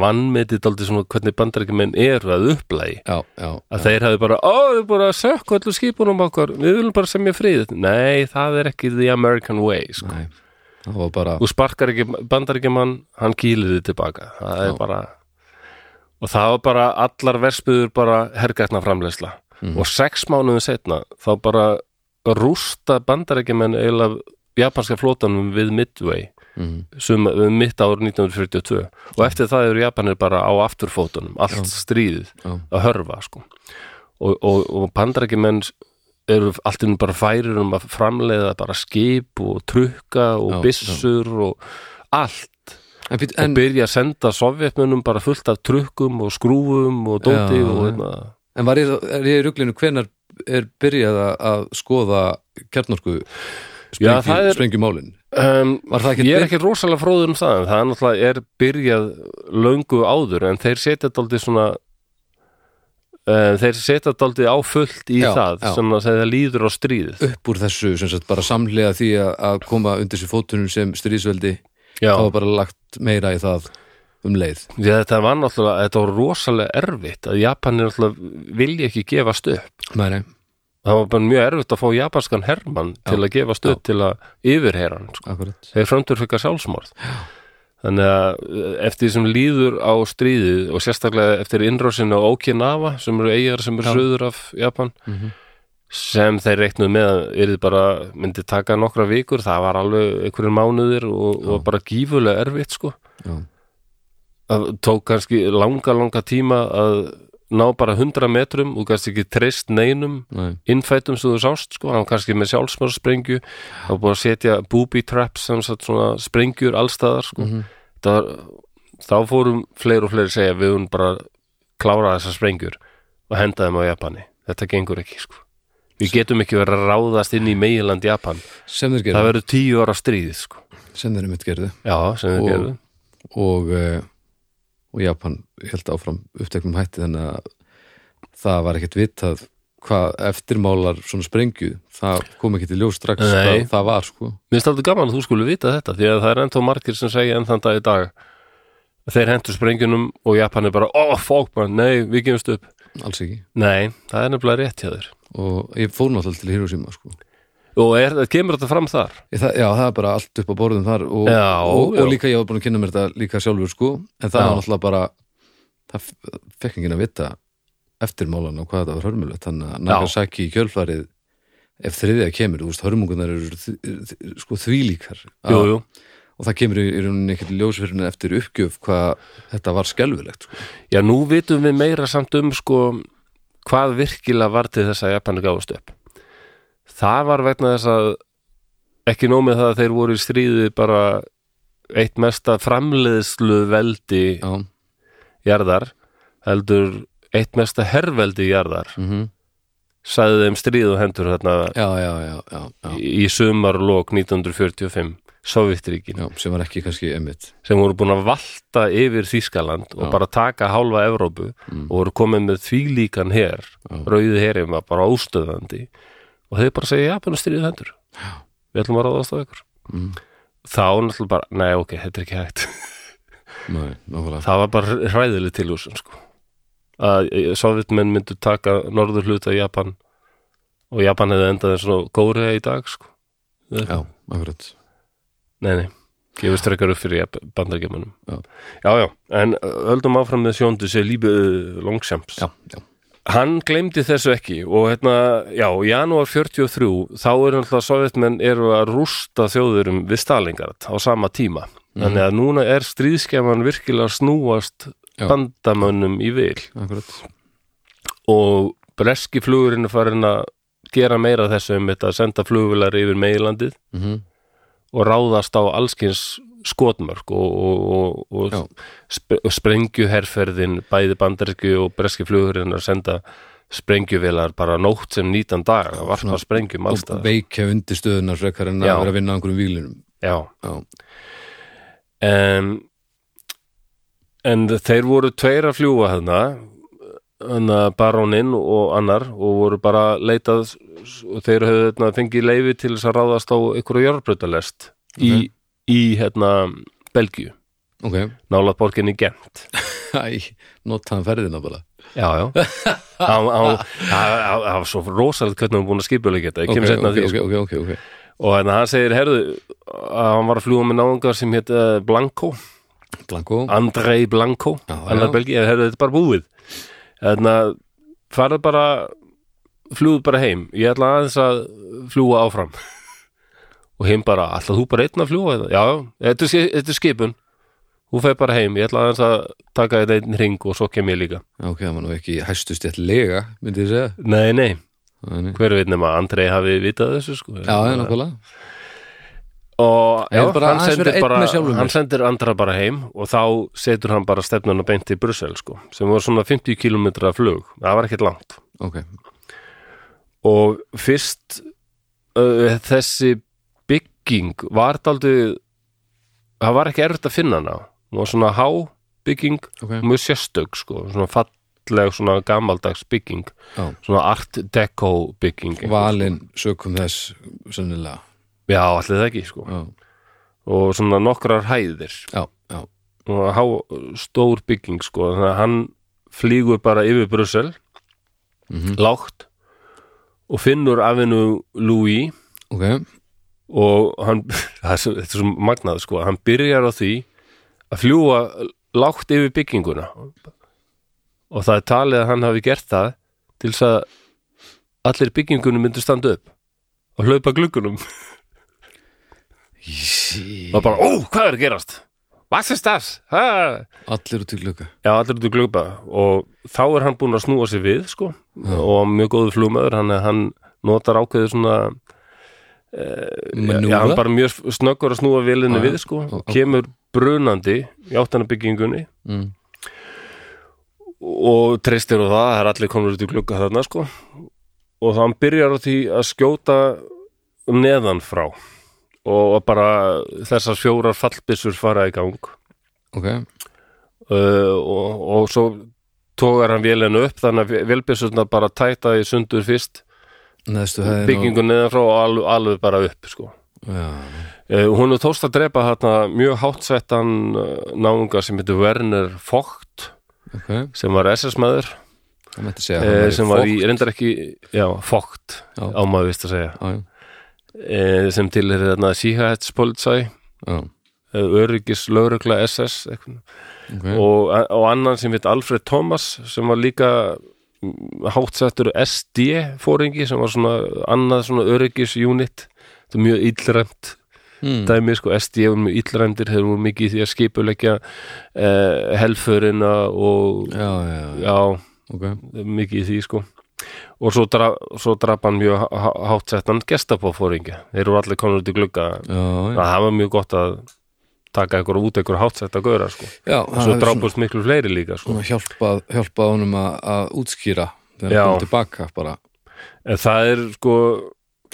vannmetið daldið svona hvernig bandarækjumenn eru að upplægi. Já, já, Að þeir hafði bara, ó, við erum bara að sökku allu skipunum okkar, við viljum bara semja frið. Nei, það er ekki the American way, sko. næ Það var bara Þú sparkar ekki bandarækjumann, hann kýlir þið tilbaka. Það Já. er bara... Og það var bara allar versmiður bara hergætna framleysla Mhm. og sex mánuðum setna þá bara rústa bandarækjumenn eiginlega japanska flótanum við Midway mm. sem við mitt ár 1942 og eftir það eru Japanir bara á afturfótunum allt stríðið Já. að hörfa sko. og, og, og bandarækjumenn eru allt um bara færir um að framleiða bara skip og trukka og Já, byssur og allt En, být, og en, byrja að senda sovjetmönnum bara fullt af trukkum og skrúfum og dóti Já, og já. hérna, en var ég, er ég í ruglinu hvenar er byrjað að- að skoða kjarnorku Já, það sprengjum, er- sprengjumálin um, Var það ekki Ég er ekki rosalega fróður um það en það er náttúrulega er byrjað löngu áður en þeir setja daldið svona uh, þeir setja daldið á fullt í Já, það já. svona þegar það líður á stríðið upp úr þessu sem sagt bara samlega því að, að koma undir sér fótunum sem stríðsveldi Já, það var bara lagt meira í það um leið því að þetta var náttúrulega þetta var rosalega erfitt að Japanir náttúrulega vilja ekki gefast upp Nei, nei. það var bara mjög erfitt að fá japanskan hermann til að gefast upp til að yfirheyra hann sko. Akkurat þeir fröndur fika sjálfsmorð þannig að eh, eftir því sem líður á stríðið og sérstaklega eftir innrósinu á Okinawa sem eru eigar sem eru Já. Mhm. söður af Japan sem þeir reiknuð með að yrði bara myndi taka nokkra vikur, það var alveg einhverjum mánuðir og, og bara gífulega erfitt sko Já. það tók kannski langa langa tíma að ná bara 100 metrum og kannski ekki treyst neinum Nei. innfætum sem þú sást sko, hann var kannski með sjálfsmörssprengju það var búið að setja booby traps sem sagt svona sprengjur allstaðar sko. Það var, þá fórum fleiri og fleiri að segja við höfum bara klárað þessar sprengjur og henda þeim á Japani þetta gengur ekki sko. við getum ekki verið að ráðast inn í meginland Japan sem þeir það gerðu, verður tíu ára stríðið sko. sem þeir mitt gerðu já, sem við Og- gerðum og, eh, og Japan held áfram uppteknum hætti þannig að það var ekkert vitað hvað eftirmálar svona sprengju það kom ekki til ljós strax Nei. hvað það var sko Mér finnst aldrei gaman að þú skulle vita þetta því að það er ennþá margir sem segja enn þann dag í dag þeir hendur sprengjunum og Japan er bara, oh fuck man, nei, við gefumst upp alls ekki Nei, það er nefnilega rétt hjá þér og ég fór náttúrulega til Hiroshima sko og er, kemur þetta fram þar Ég, það, já, það er bara allt upp á borðum þar og, Já, og, já. og líka ég var búin að kynna mér þetta líka sjálfur sko en það Já. var náttúrulega bara það f- fekk enginn að vita eftirmálan og hvað þetta var hörmulegt þannig að Nagasaki í kjölfarið ef þriðja kemur, þú veist, hörmungunar eru þ- þ- sko þvílíkar Jú, jú, og það kemur í, í rauninni ekkert ljósverðinu eftir uppgjöf hvað þetta var skelfilegt sko. já nú vitum við meira samt um sko hvað virkilega var til þess að Japan gáðast upp Það var vegna þess að ekki nómið það að þeir voru í stríði bara eitt mesta framleiðslu veldi já, jarðar heldur eitt mesta herrveldi jarðar mhm. sagði þeim stríðu hendur þarna já, já, já, já, já, í sumarlok 1945 Sovjetríkin já sem var ekki kannski emmitt sem voru búin að valta yfir Þýskaland og Já. Mm. bara taka hálfa Evrópu og voru komið með þvílíkan her Já. rauði herin var bara óstöðandi og þeir bara segja, já, búin að stríða hendur við ætlum að ráðast á ykkur Mm. þá náttúrulega bara, nei ok, þetta er ekki hægt Nei, nákvæmlega það var bara hræðileg tilhúsin sko. að sovjetmenn myndu taka norður hluta Japan og Japan hefði endað eins og góriða í dag sko. Já, akkurat nei, nei, gefur strekkar upp fyrir bandargemunum Já. já, já, en uh, höldum áfram með sjóndu sér lífi longsamps Já, já, Hann glemdi þessu ekki og hérna, já, í janúar 43 þá eru náttúrulega sovjetmenn eru að rústa þjóðurum við Stalingard á sama tíma. Þannig að núna er stríðskefan virkilega að snúast Mhm. Já. bandamönnum í vil akkurat og breski flugurinn er farin að gera meira af þessu um þetta að senda flugvilar yfir meilandið mm og ráðast á allskins skotmörk og, og, og, Já. og, sp og sprengjuherferðin bæði bandarísku og breski flugurinn að senda sprengjuvelar bara nótt sem nýtan dag að varpa svona- sprengjum Og allstað veikja undir stöðunar frekar en að Já. vera að vinna á einhverjum vílinum Já, Já, en en þeir voru tveir að fljúga hérna hérna baróninn og annar og voru bara leitað og þeir höfðu hérna, fengið leifi til þess að ráðast á einhverju járbrautalest Mhm. í, í hérna Belgíu, ok nálað borginni Gent Æ, notaðan ferðina bara Já, já Hann- hann- hann- hann- Það var svo rosalegt hvernig hann var búin að skipulega þetta, ég Ok, kemur setna ok, að því ok, sko. ok, ok, ok og en hann segir, herðu að hann var að fljúga með náungar sem hétt eh, Blanco, Blanko Andrei Blanco Já, já. annar belgi, eða herðu þetta er bara búið en að farið bara fljúðu bara heim ég ætla aðeins að fljúga áfram og heim bara, ætla þú bara einn að fljúga þetta? Já, já, þetta er ski- þetta er skipun hún fer bara heim, ég ætla aðeins að taka þetta einn ring og svo kem ég líka Já, Ok, það var nú ekki hæstust eitt lega, myndi ég segja Nei, nei, Nei, nei. hver veit nema að Andrei hafi vitað þessu sko Já, já, nákvæmlega og Ég já, vil bara hann, aðeins vera sendir einn bara, með sjálfum mér. hann sendir andra bara heim og þá setur hann bara stefnuna beint í Brussel sko, sem voru svona 50 km flug, það var ekkert langt Ok, og fyrst uh, þessi bygging var daldið það var ekki erfitt að finna hana hún var svona há bygging ok mjög sérstök sko, svona falleg svona gamaldags bygging Já. svona art deco bygging Valin sökum þess sennilega já, allir það ekki sko Já, og svona nokkrar hæðir já, já, og há, stór bygging sko, þannig að hann flýgur bara yfir Brussel Mhm. lágt og finnur afinu Louis ok og hann það er svo- þetta er svo magnað sko, hann byrjar á því að fljúga lágt yfir bygginguna og það er talið að hann hafi gert það til þess að allir byggingunum myndu standa upp og hlaupa gluggunum Sí. og bara, ó, hvað er að gerast? Hvað er stafs? Hæ? Allir út í glugga Já, allir út í glugga og þá er hann búin að snúa sér við sko, og mjög góðu flugmaður hann, hann notar ákveðið svona Manúra já, hann bara mjög snöggur að snúa Já, vélinni já. við sko, Ó, ó. kemur brunandi í áttanabyggingunni mm. og treystir á það, það er allir komur út í glugga þarna sko og þá hann byrjar á því að skjóta neðan frá og bara þessar fjórar fallbyssur fara í gang Ok, uh, og, og svo tógar hann vélina upp þannig að vélbjörsutna bara tæta í sundur fyrst neðstu hefði byggingun neðan frá og alveg, alveg bara upp sko. Já, uh, hún er tóst að drepa hérna mjög hátsettan uh, náunga sem heitir Werner Fogt ok sem var SS-maður Það mætti segja að hann uh, væri sem var í, fólk. reyndar ekki já, Fogt, Já. á maður vist að segja Já, já, uh, sem til er þarna Sicherheitspolizei já, uh, öryggis lögregla SS eitthvað ok og, og annan sem heit Alfred Thomas sem var líka mm, hátsettur SD fóringi sem var svona annað svona öryggisunit þetta er mjög illræmt mm. dæmi sko, SD var mjög illræmdir þeir voru mikið í því að skipuleggja eh, helförina og Já, já, já, já, ok mikið í því sko og svo, dra, svo drap hann mjög hátsettan gestapófóringi þeir eru allir konur út í glugga Hmm. já, það var mjög gott að taka ykkur út ykkur hátsetta gauðra sko. já og svo drápust miklu fleiri líka sko. svona hjálpað, hjálpað honum að, að útskýra þegar Já. hann kom tilbaka bara, en það er sko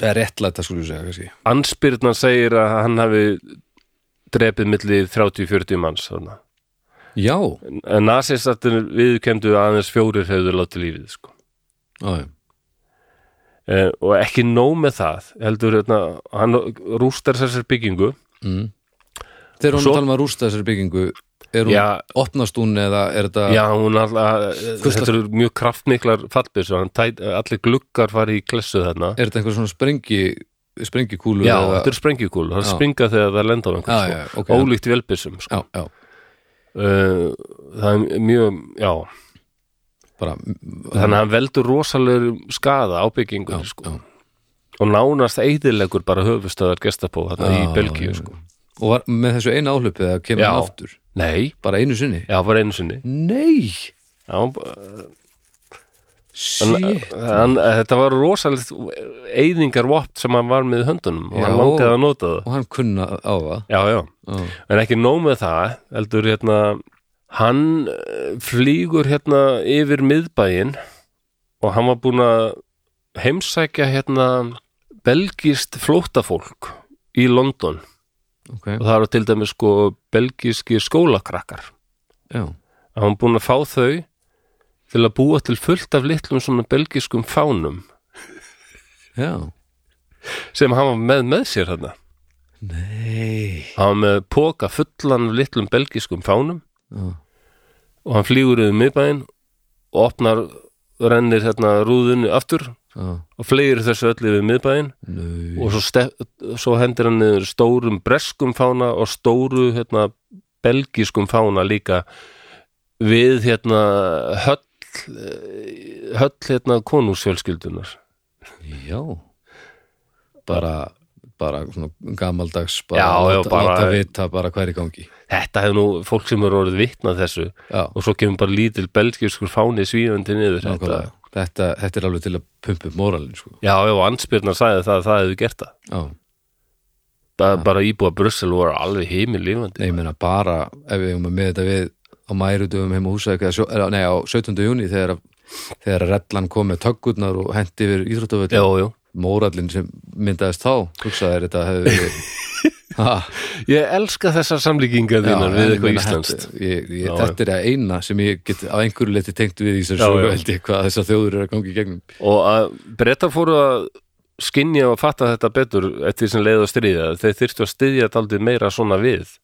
eða réttlæta skulle ég segja kannski anspyrnan segir að hann hafi drepið milli 30-40 manns þarna. já, en nasistattin viðkendu aðeins fjórir hefur látið lífið sko. já, já, eh, og ekki nóg með það heldur hérna, hann rústar þessar byggingu mm. þegar Og hún svo- talar um að rústa þessari byggingu er hún, Já. opnast hún eða er þetta Já, hún alltaf, eh, Hvers þetta eru mjög kraftmiklar fallbyrsu, hann tæt, allir gluggar fari í klessu þarna. er þetta einhver svona sprengi sprengikúlu Já, eða, þetta eru sprengjukúl, það Já. springa þegar það lenda á einhvern, Já, sko. já, ok. ólíkt velbyrsum, sko. já, já, Uh, það er mjög, já, bara þannig að hann veldur rosalegur skada á byggingunni, sko. já. Og nánast eidilegur bara höfustöðar gestapó þarna í Já, Belgíu, já. sko. og var með þessu eina áhlaupi eða kemur Já. hann aftur Nei, bara einu sinni já, bara einu sinni. nei, Já, hann, shit hann, þetta var rosalegt eidingarvopn sem hann var með í höndunum og Já. hann langaði að nota það. og hann kunna á það Já, já. já, en ekki nóg með það heldur hérna hann eh, flýgur hérna yfir miðbæinn og hann var búinn að heimsækja hérna belgist flóttafólk í London ok, og það eru til dæmis sko belgiski skólakrakkar já, að hann búinn að fá þau til að búa til fullt af litlum svona belgiskum fánum já sem hann var með með sér hérna nei, hann var með póka fullan af litlum belgiskum fánum já, og hann flýgur yfir miðbæinn og opnar, rennir hérna rúðunni aftur já og fleigir þessu öllu yfir miðbæinn nei, og svo, stef, svo hendir hann niður stórum breskum fána og stóru hérna belgiskum fána líka við hérna höll eh, höll hérna konúsfjölskyldunar já bara, bara svona gamaldags bara, Já, já, láta, bara- láta vita bara hver í gangi þetta hefur nú fólk sem eru orðið vitnað þessu já, og svo kemur bara lítil belgiskur fáni svíðandi niður þetta, nákvæmlega þetta, þetta er alveg til að pumpu moralin sko. já, já, og ansbyrnar sagði það að það hefði gert það já, bara, bara íbúa Brussel voru alveg heimil lífandi nei, ég meina bara ef við erum að með þetta við á mærutum heim á húsæk eða, sjó- eða- nei, á 17. júni þegar, þegar rellan kom með töggurnar og hendi já, yfir íþróttavöld já, moralin sem myndaðist þá hugsaði þetta hefði verið ha, Ég elska þessar samlíkingar þínar við en ég eitthvað meina, íslenskt. þetta, ég, ég, Já, þetta er að eina sem ég get á einhverju leti tengt við í þessar Já, sögu já. held ég hvað þessar þjóður eru að gangi í gegnum Og að brettar fóru að skinja og fatta þetta betur eftir því sem leið að stríða. Þeir þyrftu að styðja þetta aldrei meira svona við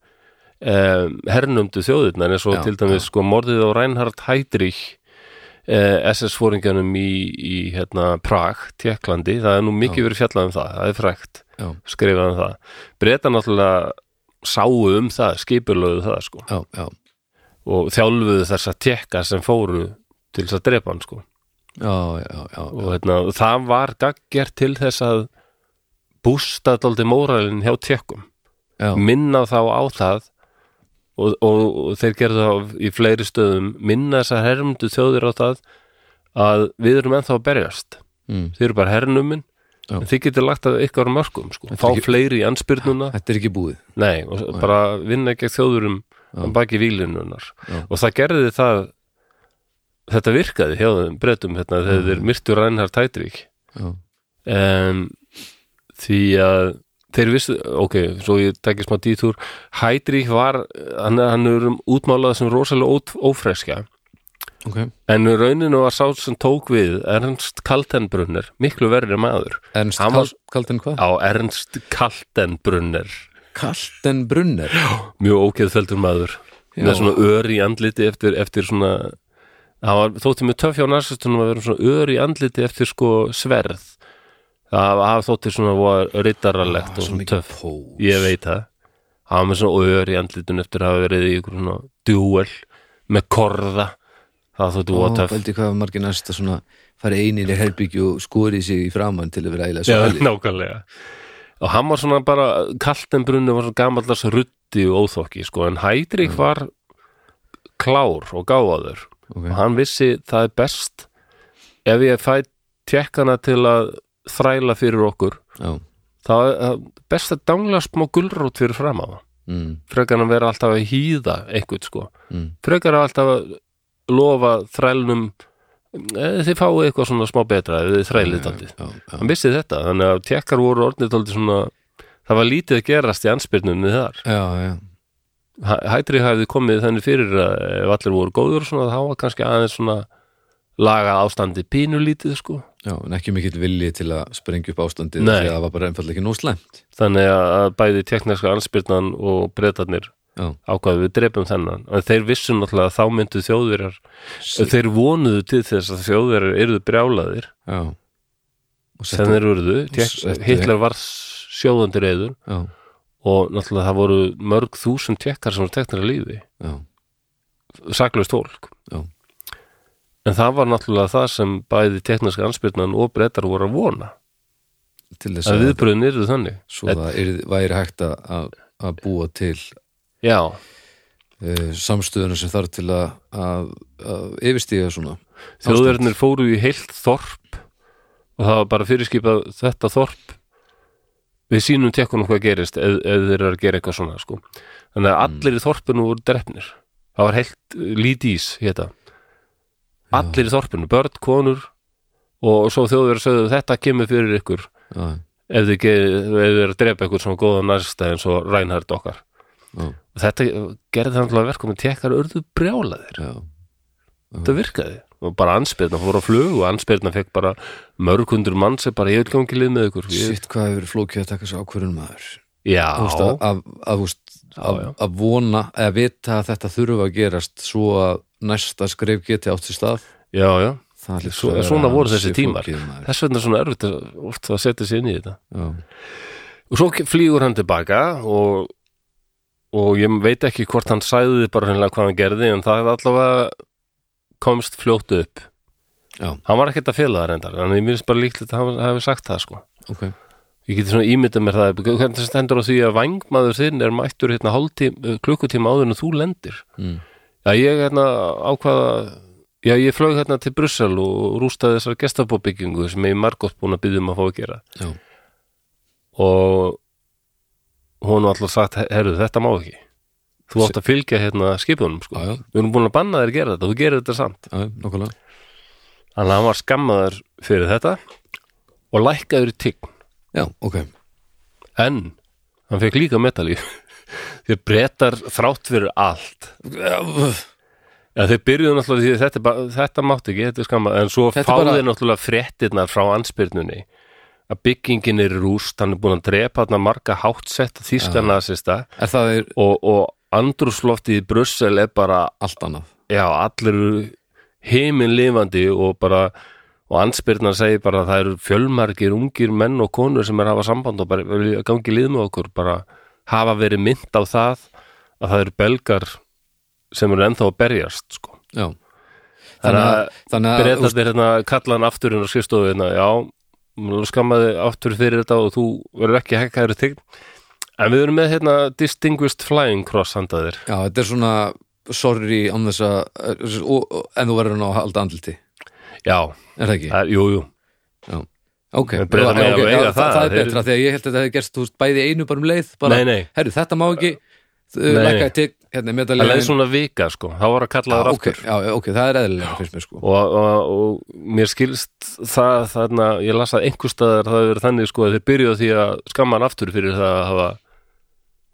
um, hernumdu þjóðirnar eins og Já, til dæmis sko morðið á Reinhard Heydrich eh, SS-fóringanum í, í hérna, Prag, Tjekklandi. Það er nú mikið verið fjallað um það, það er frægt já, skrifað um það. Brettar náttúrulega sáu um það, skipulöðu það sko. já, já, og þjálfuðu þessa tekka sem fóru til þess að drepa hann sko já, já, já. og hérna, það var gaggjert til þess að bústa daldi móralin hjá tekkum Já. minna þá á það og, og, og þeir gerðu það í fleiri stöðum minna þess að hermdu þjóðir á það að við erum ennþá að berjast Mm. þeir eru bara hernumin Já. en þið getur lagt að ykkar mörgum sko. fá ekki- fleiri í anspyrnuna þetta er ekki búið Nei, og bara vinna gegn þjóðurum á baki vílinunar Já. og það gerði það þetta virkaði hjá þeim breytum hérna, þegar þeir myrtu Rænhard Tætvík já, um, því að þeir vissu, ok, svo ég tekja smá dýtúr, Hætrík var hann, hann er um útmálað sem rosalega ót, ófreskja, ok en rauninu var sá sem tók við Ernst Kaltenbrunner, miklu verri maður Ernst Hann Kal Kalten hvað? á Ernst Kaltenbrunner Kalten Brunner mjög ógeðfeldur maður með svona ör í andliti eftir, eftir svona það var, þótti mjög töff hjá narsistunum að vera með svona ör í andliti eftir sko sverð það það þótti svona var rittaralegt og svona töff pós ég veit það það var með svona ör í andlitun eftir að hafa verið í ykkur svona djúel með korða það þótti var töff Veldi hvað margir næsta svona farið einir í herbyggju og skorið sig í framann til að vera ægilega Já, svalið nákvæmlega og hann var svona bara kaltenbrunni var svona gamallars ruddi og óþokki sko, en Hædrik var klár og gáðaður Ok. og hann vissi það er best ef ég fæ tjekkana til að þræla fyrir okkur já, þá er eh, best að dangla smá gulrót fyrir fram á það mm, frekar en að vera alltaf að hýða einhvern sko mm, frekar að alltaf að lofa þrælnum eða þið fáið eitthvað svona smá betra eða þið þrælið daldið já, já, hann vissi þetta, þannig að tjekkar voru orðnið daldið svona, það var lítið að gerast í anspyrnunni þar já, já, Hæ- Hætri hafði komið þannig fyrir að ef allir voru góður og svona, þá var kannski aðeins svona laga ástandi pínulítið sko já, en ekki mikill vilji til að sprengja upp ástandið Nei. því að það var bara einfallega ekki nóg slæmt þannig að bæði tekniska anspyrnan og breytarnir Já. ákvaðu við drepum þennan en þeir vissu náttúrulega að þá myndu þjóðverjar þeir vonuðu til þess að þjóðverjar eruðu brjálaðir já, og sem þeir urðu, settu- Tékk- Hitler var sjóðandi reyður já, og náttúrulega það voru mörg þúsund tjekkar sem voru teknar að lífi já, saklaust fólk Já. en það var náttúrulega það sem bæði tekniska anspyrnan og breytar voru að vona til þess að að viðbröðin eruðu þannig svo það er, væri hægt að- að að búa til já, uh, samstöðuna sem þarf til að, að, að yfirstíga svona þjóðverðinir fóru í heilt þorp og það var bara fyrirskipað þetta þorp við sínum tekkunum hvað gerist eð, eða þeir eru að gera eitthvað svona sko. þannig að allir í þorpinu voru drefnir það var heilt eh, lítís hétta allir í þorpinu, börn, konur og svo þjóðverður sögðu þetta kemur fyrir ykkur já, ef þið, ge- ef þið eru að drepa ykkur svona góða næsta eins og Reinhardt okkar já, og þetta gerði það náttúrulega verkum að tekkar urðu brjálaðir já, þetta virkaði og bara anspyrna, fór á flug og anspyrna fekk bara mörg hundur mann sem bara ég vil gangi lið með ykkur ég, sitt hvað hefur flókið að taka þessu ákvörðun maður já, Þú veist, að, að, að, þú veist, að, já. að vona að vita að þetta þurfa að gerast svo að næsta skrif geti átt sér stað já, já Það hlýtur Svo, að vera svona voru þessi ansi tímar flókið, maður. þess vegna er svona erfitt að, oft að setja sér inn í þetta já, og svo ke- flýgur hann tilbaka og, og ég veit ekki hvort hann sæði bara hennilega hvað hann gerði en það allavega komst fljótt upp Já. hann var ekkert að fela það reyndar en ég minnst bara líklegt að hann hafi sagt það sko ok Ég geti svona ímyndað mér það, hvernig stendur á því að vangmaður þinn er mættur hérna hálftíma, klukkutíma áður en þú lendir? mm. Já, ég hérna ákvaða, já, ég flög hérna til Brussel og rústaði þessar gestabóbyggingu sem ég er margótt búin að byggja um að fá að gera. já, Og hún var alltaf sagt, herru, þetta má ekki. Þú átt að fylgja hérna skipunum, sko. Já, já. Við erum búin að banna þér að gera þetta, þú gerir þetta samt. já, nokkulega Þannig að hann var skammaður fyrir þetta og lækkaður í tign. já, ok, en hann fekk líka metalíf þeir brettar þrátt fyrir allt ja, þeir byrjuðu náttúrulega því að þetta, er bara- þetta mátt ekki, þetta er skamma en svo Þetta er fáðu bara- þeir náttúrulega fréttirnar frá anspyrnunni að byggingin er í rúst, hann er búin að drepa hann marga háttsetta þýskarna ja. er það er og, og andrúsloftið í Brussel er bara allt annað já, allir heimin lifandi og bara og anspyrna segir bara að það eru fjölmargir ungir menn og konur sem er að hafa samband og bara vilja gangi lið með okkur bara hafa verið mynd á það að það eru belgar sem eru ennþá að berjast sko. já þannig að þannig að, þú veist, breytaðir hérna kalla hann aftur hérna á skrifstofu hérna, já, skammaði aftur fyrir þetta og þú verður ekki hekkaður til en við erum með hérna Distinguished Flying Cross handaðir já, þetta er svona sorry án þess að og- og- en þú verður nú að halda andliti já, er það ekki? það er, jú, jú Já. Ok, En Bretar Já, mega ok, eiga já, það, það, það er þeir- betra þegar ég held að þetta hefði gerst þú veist, bæði í einu bara um leið bara, Nei, nei. Herru, þetta má ekki, uh, Nei, nei. lækka til hérna, Það meðalegin leið svona vika sko, þá var að kalla það okay, aftur já, já, ok, það er eðlilega fyrst mér sko og, og, og mér skilst það þarna, ég las að einhver staðar það hefur verið þannig sko að þeir byrjuðu á því að skamma hann aftur fyrir það að hafa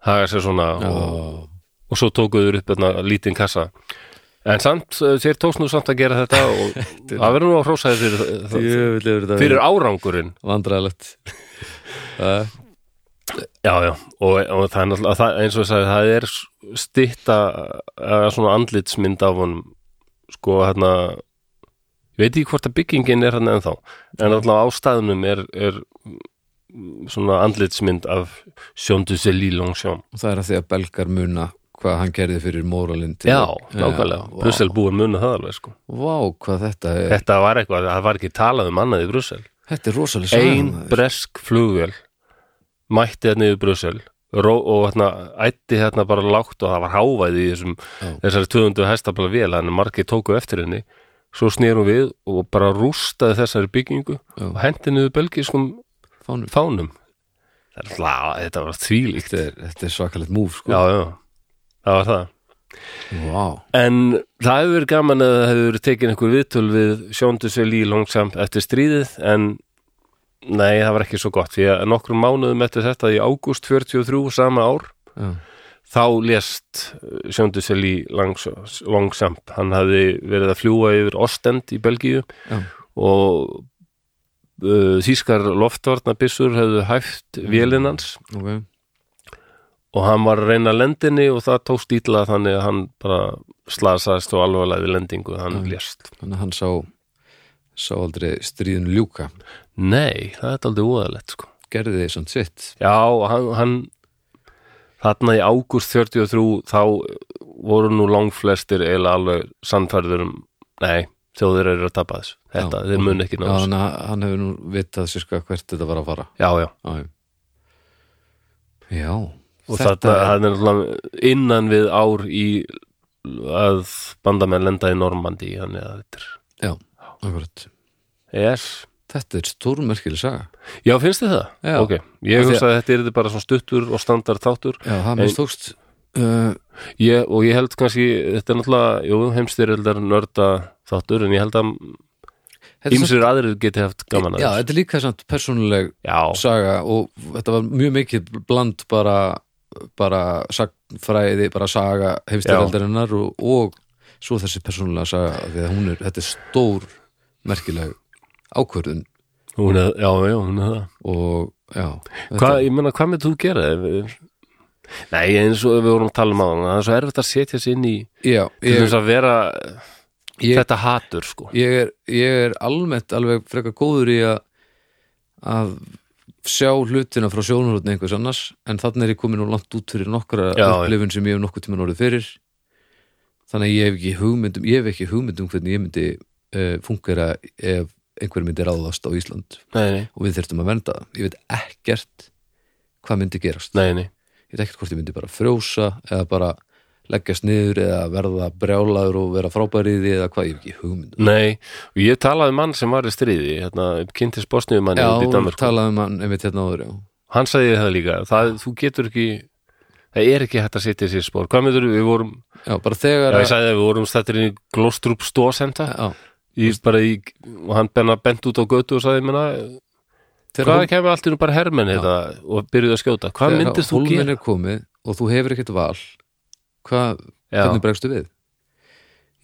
haga sér svona og, Ó, og svo tókuðu þeir upp hérna lítinn kassa en samt, eh, þeir tókst nú samt að gera þetta og það verður nú að hrósaði fyrir, það- fyrir árangurinn vandræðalegt Það- Já, já, og, og það er náttúrulega það, eins og ég sagði, það er stitta að svona andlitsmynd af honum sko hérna ég veit ekki hvort að byggingin er hann ennþá en alltaf ástæðunum er, er mm, svona andlitsmynd af Sjón du Seli Longsjón það er að því að belgar muna hvað hann gerði fyrir móralinn til- Já, nákvæmlega, vá. Brussel búin muna það alveg sko Vá, hvað þetta er Þetta var eitthvað, það var ekki talað um annað í Brussel Þetta er rosalega Ein sagan bresk flugvél mætti þarna yfir Brussel ró, og hérna ætti hérna bara lágt og það var hávæði í þessum, Já. þessari 200 hestafla vél þannig að margir tóku eftir henni svo snýr hún við og bara rústaði þessari byggingu Já. og hendi niður belgiskum fánum fánum Það er alltaf- þetta var þvílíkt þetta er, þetta er svakalegt múf sko. já, já, það var það wow. en það hefur verið gaman að það hefur verið tekin einhver viðtöl við sjóndusvel í langsamt eftir stríðið en nei, það var ekki svo gott því að nokkrum mánuðum eftir þetta í ágúst 43 sama ár já, þá lést sjóndusvel í langsamt hann hafði verið að fljúa yfir Ostend í Belgíu já, og uh, þýskar loftvarnabissur hefðu hæft vélinans ok og hann var að reyna lendinni og það tókst ítla þannig að hann bara slasaðist og alvarlega við lendingu hann Mm. lést. þannig að hann sá sá aldrei stríðun ljúka Nei, það er aldrei óðalegt sko. gerði þið samt sitt Já, hann, hann þarna í ágúst 43 þá voru nú langflestir eiginlega alveg sannfærður um nei, þjóðir eru að tapa þessu þetta, Já, þeir mun ekki já, ná þessu. hann, hann hefur nú vitað sérska hvert þetta var að fara Já, já. já, já. já og þetta það er náttúrulega innan við ár í að bandamenn lenda í Normandi þannig að þetta já, akkurat er yes. Þetta er stórmerkileg saga Já, finnst þið það? Já. Ok, ég Af því hugsa að þetta er bara svona stuttur og standard þáttur Já, það minnst tókst uh, ég, og ég held kannski, þetta er náttúrulega jú, heimstyrildar nörda þáttur en ég held að þetta er samt- ýmsir aðrir geti haft gaman að Já, þessu. þetta er líka samt persónuleg Já, saga og þetta var mjög mikið bland bara, bara sagfræði, bara saga heimstyrjaldarinnar og, og svo þessi persónulega saga af því að hún er, þetta er stór merkileg ákvörðun hún er, já, já, hún er það og já þetta- Hva, ég meina, hvað með þú gera? Ef- Nei, eins og við vorum að tala um á það er svo erfitt að setja sér inn í já, til ég, þess að vera Ég- þetta hatur, sko ég, er, ég er almennt alveg frekar góður í að að sjá hlutina frá sjónarhóðni einhvers annars en þannig er ég komin og langt út fyrir nokkra Já, já. upplifun sem ég hef nokkuð tímann orðið fyrir þannig að ég hef ekki hugmyndum ég hef ekki hugmyndum hvernig ég myndi uh, fungera ef einhver myndi ráðast á Ísland Nei, nei, og við þyrftum að vernda það ég veit ekkert hvað myndi gerast nei, nei. ég veit ekkert hvort ég myndi bara frjósa eða bara leggjast niður eða verða brjálaður og vera frábæriði eða hvað, ég hef ekki hugmynd Nei, og ég talaði um mann sem var í stríði hérna, kynntist bosniðumanni út í Já, Danmarku talaði um hann einmitt hérna áður já. Hann sagði það líka, það, þú getur ekki það er ekki hægt að setja sér spór Hvað myndur við vorum, já, bara þegar já að- ég sagði að við vorum stættir inn í Glostrup Stósenda já, í, bara í, og hann benna bent út á götu og sagði, menna, þegar hvað kemur allt í nú bara hermenn þetta og byrjuðu að skjóta Hvað þegar myndist þú hólminn gera? er komið og þú hefur ekkert val hvað, Já, hvernig bregstu við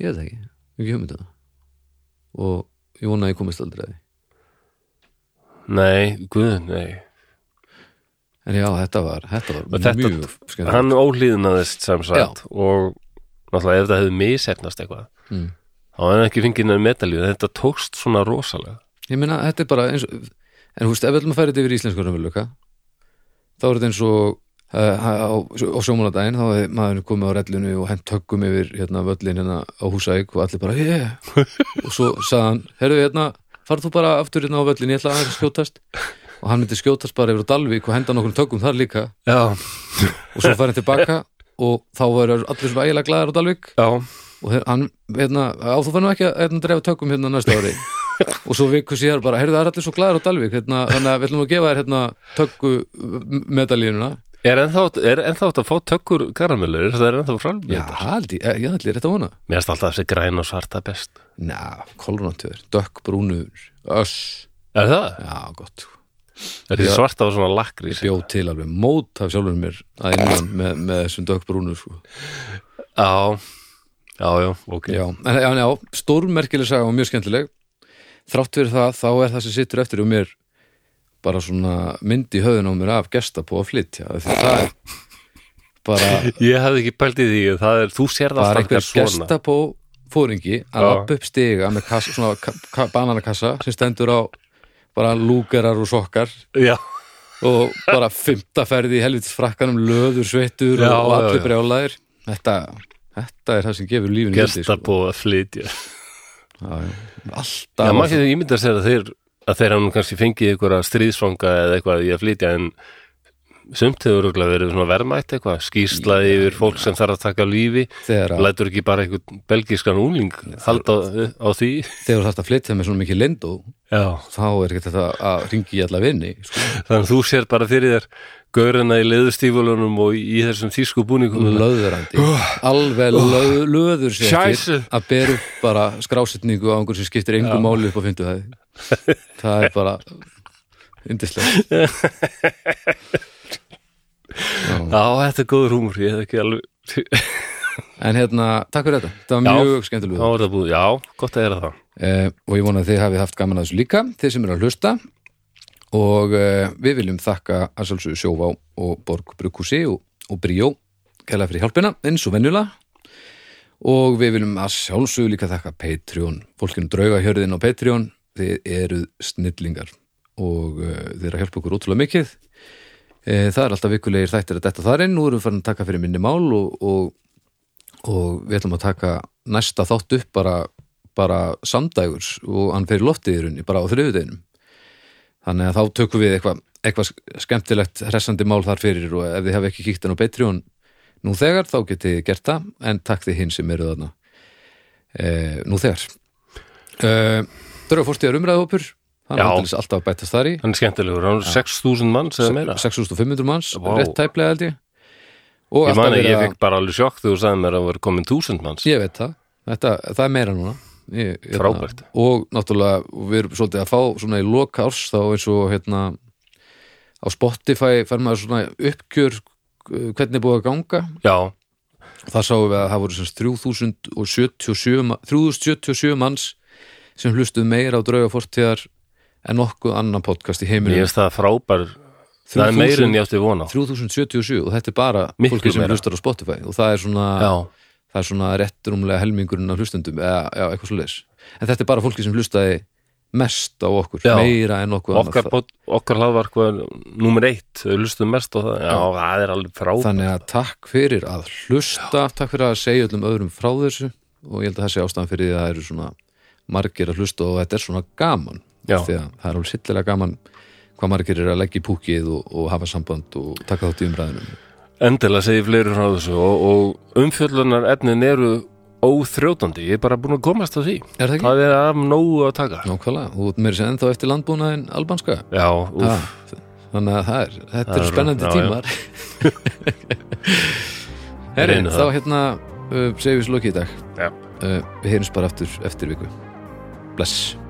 ég veit það ekki, ég hef ekki hugmynd um það og ég vona að ég komist aldrei að því nei, guð, nei en já, þetta var, þetta Og var þetta- mjög skemmt Hann ólíðnaðist sem sagt og náttúrulega ef það hefði misefnast eitthvað mm. þá er hann ekki fengið neður medalíu þetta tókst svona rosalega ég meina, þetta er bara eins og en þú veist, ef við ætlum að færa þetta yfir í íslensku raunveruleika þá er þetta eins og uh, á, á sjómanadaginn þá er maður komið á rellinu og hent höggum yfir hérna völlin hérna á húsæk og allir bara, yeah og svo sagði hann, herru hérna farð þú bara aftur hérna á völlin, ég ætla aðeins að skjótast og hann myndi skjótast bara yfir á Dalvík og henda nokkrum tökum þar líka Já, og svo farið tilbaka og þá verður allir svona ægilega glæðar á Dalvík já, og þeir, hann, hérna, á þú fannum ekki að hérna, drefa tökum hérna næsta ári og svo viku síðar bara, heyrðu það er allir svo glæður á Dalvik hérna, þannig að við ætlum að gefa þér hérna tökku medalínuna er ennþá, er ennþá hægt að fá tökur karamellur, það er ennþá framlýtt já, held ég, eh, ég held ég rétt að vona Mér erst alltaf þessi græn og svarta best na, kolrunantur, dökk brúnur öss, Er það? já, gott Er því svarta og svona lakri ég bjóð til alveg mót af sjálfur mér að innan með, með þessum dökk brúnur sko. Já, já, já, ok já, en já, já, stórmerkileg saga og mjög skemmtileg þrátt fyrir það, þá er það sem sittur eftir og mér bara svona mynd í höfðun á mér af gesta búið að flytja af því það er bara, Ég hafði ekki pælt í því, það er, þú sér það bara alltaf einhver eitthvað svona gesta búið fóringi að Já. lappa upp stiga með kassa, svona ka ka bananakassa sem stendur á bara lúgerar og sokkar Já, og bara fymta ferði í helvitis frakkanum löður, sveittur Já, og, og já, allir já. brjálæðir þetta, þetta er það sem gefur lífinu gildi, gesta búið að flytja sko. Já, já. Já, alltaf maður getur ímyndað sér að þeir að þeir hann kannski fengið einhverja stríðsfanga eða eitthvað í að flytja en sumt hefur örugglega verið svona verðmætt eitthvað, skýrslaði yfir fólk sem þarf að taka á lífi þegar, að, lætur ekki bara einhvern belgískan úling halda á, á því þegar þarf að flytja með svona mikið lindu Já. þá er ekki þetta að ringi í alla vinni sko. þannig að þú sér bara fyrir þér gaurina í leðustífulunum og í þessum þýsku búningum löðurandi, alveg löð, löður sér Scheisse. að bera upp bara skrásetningu á einhver sem skiptir engu máli upp á fyndu það það er bara yndislega Já, þetta er góður húmur, ég hef ekki alveg en hérna, takk fyrir þetta, það Já. var mjög Þá skemmtilega er það búið, já, gott að gera það eh, og ég vona að þið hafið haft gaman að þessu líka þið sem eru að hlusta og eh, við viljum þakka að sjálfsögðu sjóvá og Borg Brukhúsi og, og Bríó kæla fyrir hjálpina eins og venjulega og við viljum að sjálfsögðu líka þakka Patreon, fólkinu drauga hjörðin á Patreon, þið eruð snillingar og eh, þið eru að hjálpa okkur ótrúlega mikið eh, það er alltaf vikulegir þættir að detta þar inn nú erum við farin að taka fyrir minni mál og, og og við ætlum að taka næsta þátt upp bara, bara samdægurs og hann fer í loftið í rauninni bara á þriðudeginum þannig að þá tökum við eitthvað eitthvað skemmtilegt hressandi mál þar fyrir og ef þið hafi ekki kíkt hann á Patreon nú þegar þá getið þið gert það en takk þið hinn sem eru þarna e, nú þegar e, Dörra fórstíðar umræðhópur Já. hann er aldeilis alltaf að bætast þar í Hann er skemmtilegur, hann er 6.000 manns eða meira 6500 manns, Vá. rétt tæplega held ég og Ég alltaf mani, verið ég að- fekk bara alveg sjokk þegar þú sagði mér að það var komin 1000 manns Ég veit það, þetta, það er meira núna ég, hérna, Frábært. Og náttúrulega, og við erum svolítið að fá svona í loka árs þá eins og hérna á Spotify fær maður svona uppgjör uh, hvernig er búið að ganga Já, og það sáum við að það voru semst 3077, ma- 3077 manns sem hlustuð meira á drauga fortíðar en nokkuð annan podcast í ég heiminum veist það frábær Það er meira en ég átti von á 3077 og þetta er bara Miklu fólki sem meira. hlustar á Spotify og það er svona Já, það er svona rétt rúmlega helmingurinn af hlustendum eða já, eitthvað svo en þetta er bara fólki sem hlustaði mest á okkur, Já. meira en okkur okkar, annað pod- okkar hlaðvark var númer eitt, þau lustuðum mest á það Já, það er alveg frábært þannig að takk fyrir að hlusta takk fyrir að segja öllum öðrum frá þessu og ég held að það sé ástæðan fyrir því að það eru svona margir að hlusta og þetta er svona gaman Já. því að það er alveg sillilega gaman hvað margir eru að leggja í púkið og, og hafa samband og taka þátt í umræðinum Endilega segi fleiri frá þessu og, og umfjöllunar efnin eru óþrjótandi, ég er bara búin að komast á því er það ekki? Það er af nógu að taka Nákvæmlega, og mér sem ennþá eftir landbúnaðin albanska Já, úf, Ha, þannig að það er þetta Ah. Það eru er- spennandi já, tímar Herrin, Reynum þá það. hérna uh, segjum við slokið í dag já. uh, við heyrums bara aftur eftir viku Bless